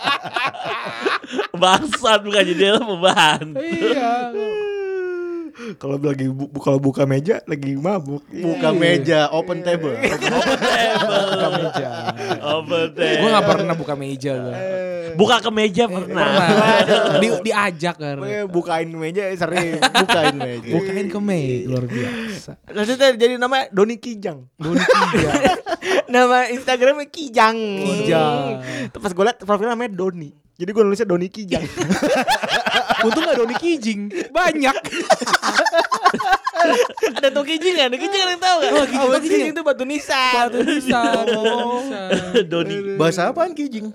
[laughs] Bangsat bukan jadi pembantu.
iya.
Kalau lagi bu- bu- kalau buka meja lagi mabuk.
Buka meja, open table.
Buka meja.
Open
Gue gak pernah buka meja gue.
Eh. Buka ke
Eh,
meja pernah. Nah.
Di, diajak kan.
Pokoknya bukain meja eh, sering.
Bukain meja.
Bukain ke meja luar biasa.
Maksudnya jadi nama Doni Kijang.
Doni Kijang.
nama Instagramnya Kijang.
Kijang.
Terus Pas gue liat profilnya namanya Doni. Jadi gue nulisnya Doni Kijang.
Untung gak Doni Kijing. Banyak.
ada tuh Kijing ada Kijing ada yang tahu enggak? Oh, Kijing, itu batu nisan.
Batu nisan.
Doni.
Bahasa apaan kijing?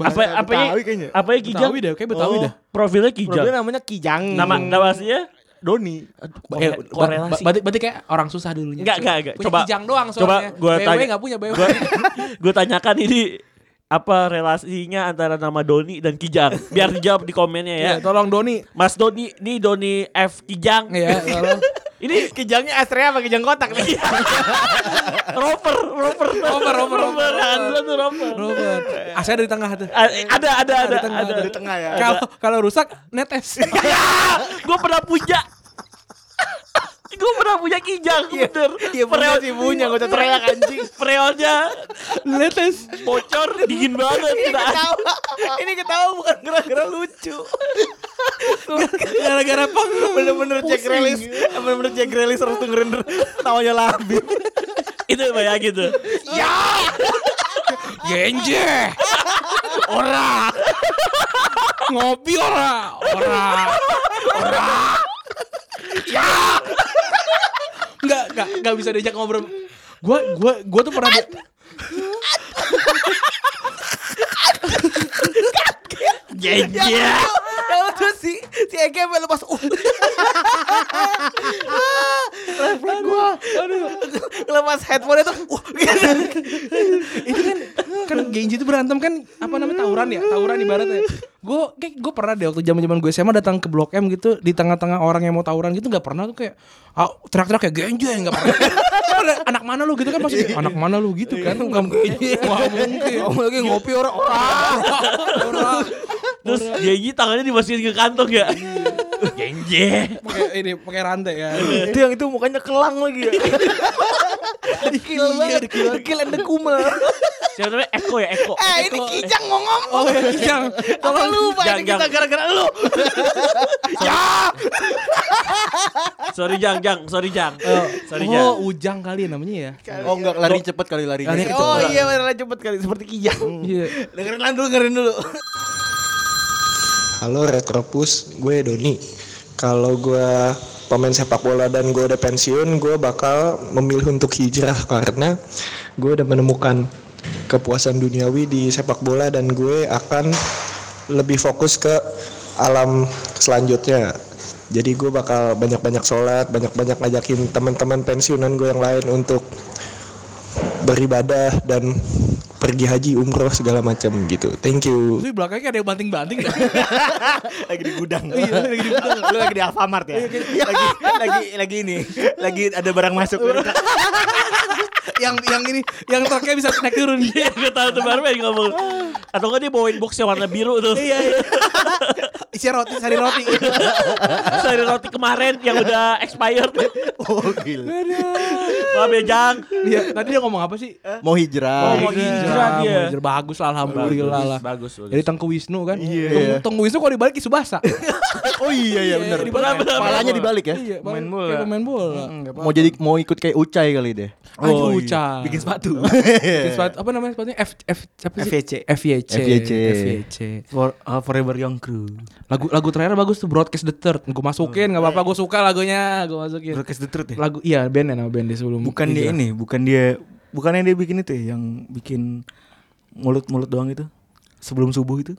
Apa apa ya?
Betawi kayaknya.
Apa ya Kijang?
Betawi dah, kayak Betawi
Oh,
dah.
Profilnya Kijang.
Profilnya namanya Kijang.
Nama nama aslinya?
Doni.
Eh,
Kore- korelasi.
ba- Berarti berarti kayak orang susah dulunya.
Enggak, enggak, enggak.
Punya
Coba-
Kijang doang
coba
soalnya.
gua
BW
tanya.
nggak punya BW. [laughs]
Gua [laughs] Iya. gue tanyakan ini apa relasinya antara nama Doni dan Kijang? Biar dijawab di komennya ya.
Ya, tolong
[laughs]
Doni.
Mas Doni, ini Doni F Kijang.
Ya, tolong.
[laughs] Ini
Kijangnya Astrea apa Kijang kotak
[laughs]
nih?
Rover, Rover,
Rover, Rover, Rover.
Andalan tuh Rover.
Robert. Ah, saya dari tengah tuh.
A- Ada, ada, ada,
tengah,
ada.
ada di
Tengah ya.
Kalau kalau rusak netes.
[laughs] Gue Ah, pernah punya. Gue pernah punya Kijang, bener.
Iya punya
Period-
sih punya gue teriak anjing.
Periodnya
netes.
bocor, dingin banget. Kita
Iya, Ketawa. [laughs] Ini ketawa bukan gara-gara [laughs] lucu.
Gara-gara pang.
Bener-bener Jack Relis. Bener-bener Jack Relis harus dengerin tawanya labi.
[laughs] itu bayangin tuh.
Genje. Ora. Ngopi ora. Ora. Ora. Ya. Enggak, enggak, enggak bisa diajak ngobrol. Gua gua gua tuh pernah di-
Jejer.
Kalau tuh si si Ege sampai lepas uh. Refleks gua. Lepas headphone itu uh.
itu kan kan Genji itu berantem kan apa namanya tawuran ya tawuran ibaratnya gue kayak gue pernah deh waktu zaman zaman gue SMA datang ke Blok M gitu di tengah-tengah orang yang mau tawuran gitu nggak pernah tuh kayak ah, teriak-teriak kayak Genji eh, nggak pernah Ada, anak mana lu gitu kan pasti
Iya.
anak mana lu gitu kan nggak mungkin nggak mungkin Iya.
lagi ngopi
oh,
orang-orang.
Terus Jeji tangannya dimasukin ke kantong ya.
Iya.
Genje.
pakai ini pakai rantai ya
Itu yang itu mukanya kelang lagi ya. Dekil banget. Dekil and the kumal.
Siapa namanya Eko ya Eko.
Eh ini Kijang mau ngomong.
oh yang
Kalau lupa
Jang,
ini
jang.
kita
Ya.
gara-gara
[laughs]
lu. [laughs]
Sorry Jang Jang, sorry Jang. Sorry Jang.
oh ujang kali ya namanya ya
Oh enggak lari cepet kali larinya.
Larinya
Oh iya beneran cepet kali seperti Kijang.
Iya.
Dengerin lah dulu, dengerin dulu.
Halo Retropus, gue Doni. Kalau gue pemain sepak bola dan gue udah pensiun, gue bakal memilih untuk hijrah karena gue udah menemukan kepuasan duniawi di sepak bola dan gue akan lebih fokus ke alam selanjutnya. Jadi gue bakal banyak-banyak sholat, banyak-banyak ngajakin teman-teman pensiunan gue yang lain untuk beribadah dan
pergi haji umroh segala macam gitu thank you
Terus di belakangnya ada yang banting-banting. Iya,
lagi di gudang. lagi di gudang. Lu lagi di Alfamart ya. [laughs] lagi lagi lagi ini. Lagi ada barang masuk. [laughs]
yang yang ini yang truknya bisa naik turun.
[laughs] Iya, gue tahu tuh barman ngomong. Atau enggak dia bawain box yang warna biru tuh. [laughs] Iya,
Isi roti, sari roti.
Sari roti kemarin yang udah expired.
Oh gila.
Maaf ya, Jang.
Iya, tadi dia ngomong apa sih?
Mau hijrah.
Oh, mau hijrah dia.
Iya. mau hijrah. bagus lah alhamdulillah lah.
Bagus, bagus.
Jadi Tengku Wisnu kan.
Iya.
Tengku, Tengku Wisnu kalau dibalik Subasa.
Oh iya iya benar.
dibalik.
Palanya dibalik ya.
[laughs] Iya,
Pemain
balik-
bola.
kayak Pemain bola.
Mau jadi mau ikut kayak Ucai kali deh. Oh, iya.
Aduh, Uca.
Bikin sepatu. Iya.
Bikin sepatu- apa namanya sepatunya? F F apa sih?
FYC.
FYC.
FYC.
FYC.
For, uh, forever Young Crew.
Lagu lagu terakhir bagus tuh Broadcast the Third. Gue masukin enggak apa-apa, gue suka lagunya, gue masukin.
Broadcast the Truth ya.
Lagu iya band ya nama band dia sebelum.
Bukan dia
hijrah.
ini, bukan dia bukannya dia bikin itu ya yang bikin mulut-mulut doang itu. Sebelum subuh itu.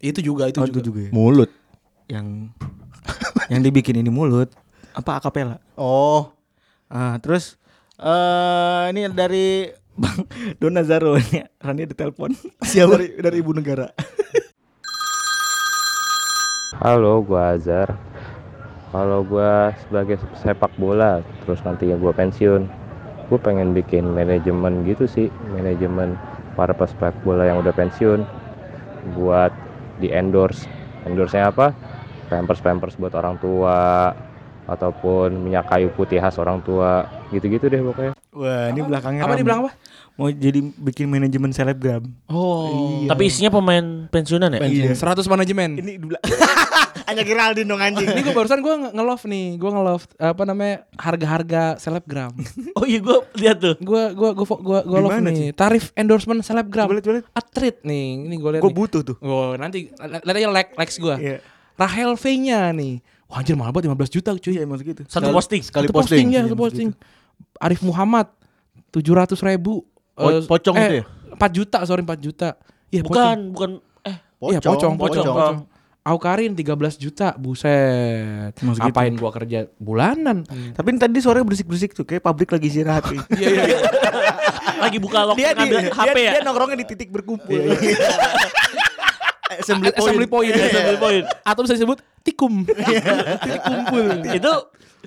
Itu juga itu
Oh,
juga.
itu juga ya.
Mulut.
Yang yang dibikin ini mulut apa akapela.
Oh.
Ah, terus eh ini dari Bang Donazaro ini Rani ada telepon [laughs] siapa dari, dari ibu negara.
Halo, gua Azhar. Kalau gua sebagai sepak bola, terus nantinya gua pensiun, gua pengen bikin manajemen gitu sih, manajemen para pesepak bola yang udah pensiun, buat di endorse. Endorse-nya apa? Pampers pampers buat orang tua, ataupun minyak kayu putih khas orang tua, gitu-gitu deh pokoknya.
Wah, ini belakangnya
Apa
ramai.
dibilang apa?
Mau jadi bikin manajemen selebgram.
Oh.
Tapi isinya pemain pensiunan ya?
Iya.
100 manajemen.
Ini di belakang. [laughs] Hanya Geraldine dong anjing.
Ini gue barusan gue nge-love nih, gue nge-love apa namanya harga-harga selebgram.
Oh iya, gue lihat tuh.
Gue gue gue gue gue love
Gimana,
nih. Tarif endorsement selebgram.
Coba liat, coba liat.
Atrit nih, ini gue lihat.
Gue butuh tuh.
Wow, nanti lihat aja like likes gue.
Iya.
Rahel V-nya nih. Wah, anjir mahal banget 15 juta cuy.
Iya, emang segitu.
Satu posting.
Sekali
Satu
posting.
ya, satu posting.
gitu.
Arif Muhammad 700 ribu.
Po- pocong itu ya?
4 juta, sorry 4 juta. Iya, pocong.
Bukan, bukan. Eh,
Iya, pocong, pocong, pocong. Au Karin 13 juta, buset.
Emang segitu.
Apain gua kerja bulanan?
Iya. Tapi tadi sore berisik-berisik tuh kayak pabrik lagi [laughs] istirahat. cuy.
Iya, iya, iya.
lagi buka waktu
dia di
ngambil
dia,
HP ya?
dia nongkrongnya di titik berkumpul. [laughs]
Assembly point.
Assembly point.
Assembly point.
Atau bisa disebut [laughs] tikum. Titik kumpul.
itu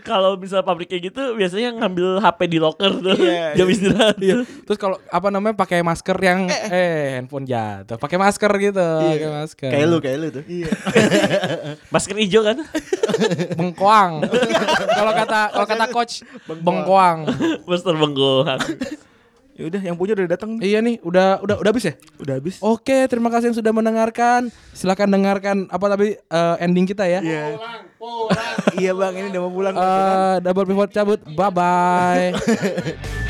kalau misalnya pabriknya gitu biasanya ngambil HP di locker tuh
Iya,
jam istirahat tuh.
Terus kalau apa namanya pakai masker yang eh handphone jatuh, pakai masker gitu, pakai masker.
Kayak lu, kayak lu tuh.
Iya.
masker hijau kan
[laughs] bengkoang. kalau kata kalau kata coach bengkoang.
masker bengkoang
[laughs] ya udah, yang punya udah datang.
Iya nih, udah udah udah habis ya?
Udah habis.
Oke, terima kasih yang sudah mendengarkan. Silakan dengarkan apa tapi eh, ending kita ya.
Iya. iya, Bang, ini udah mau pulang.
Eh, double pivot cabut. Bye bye.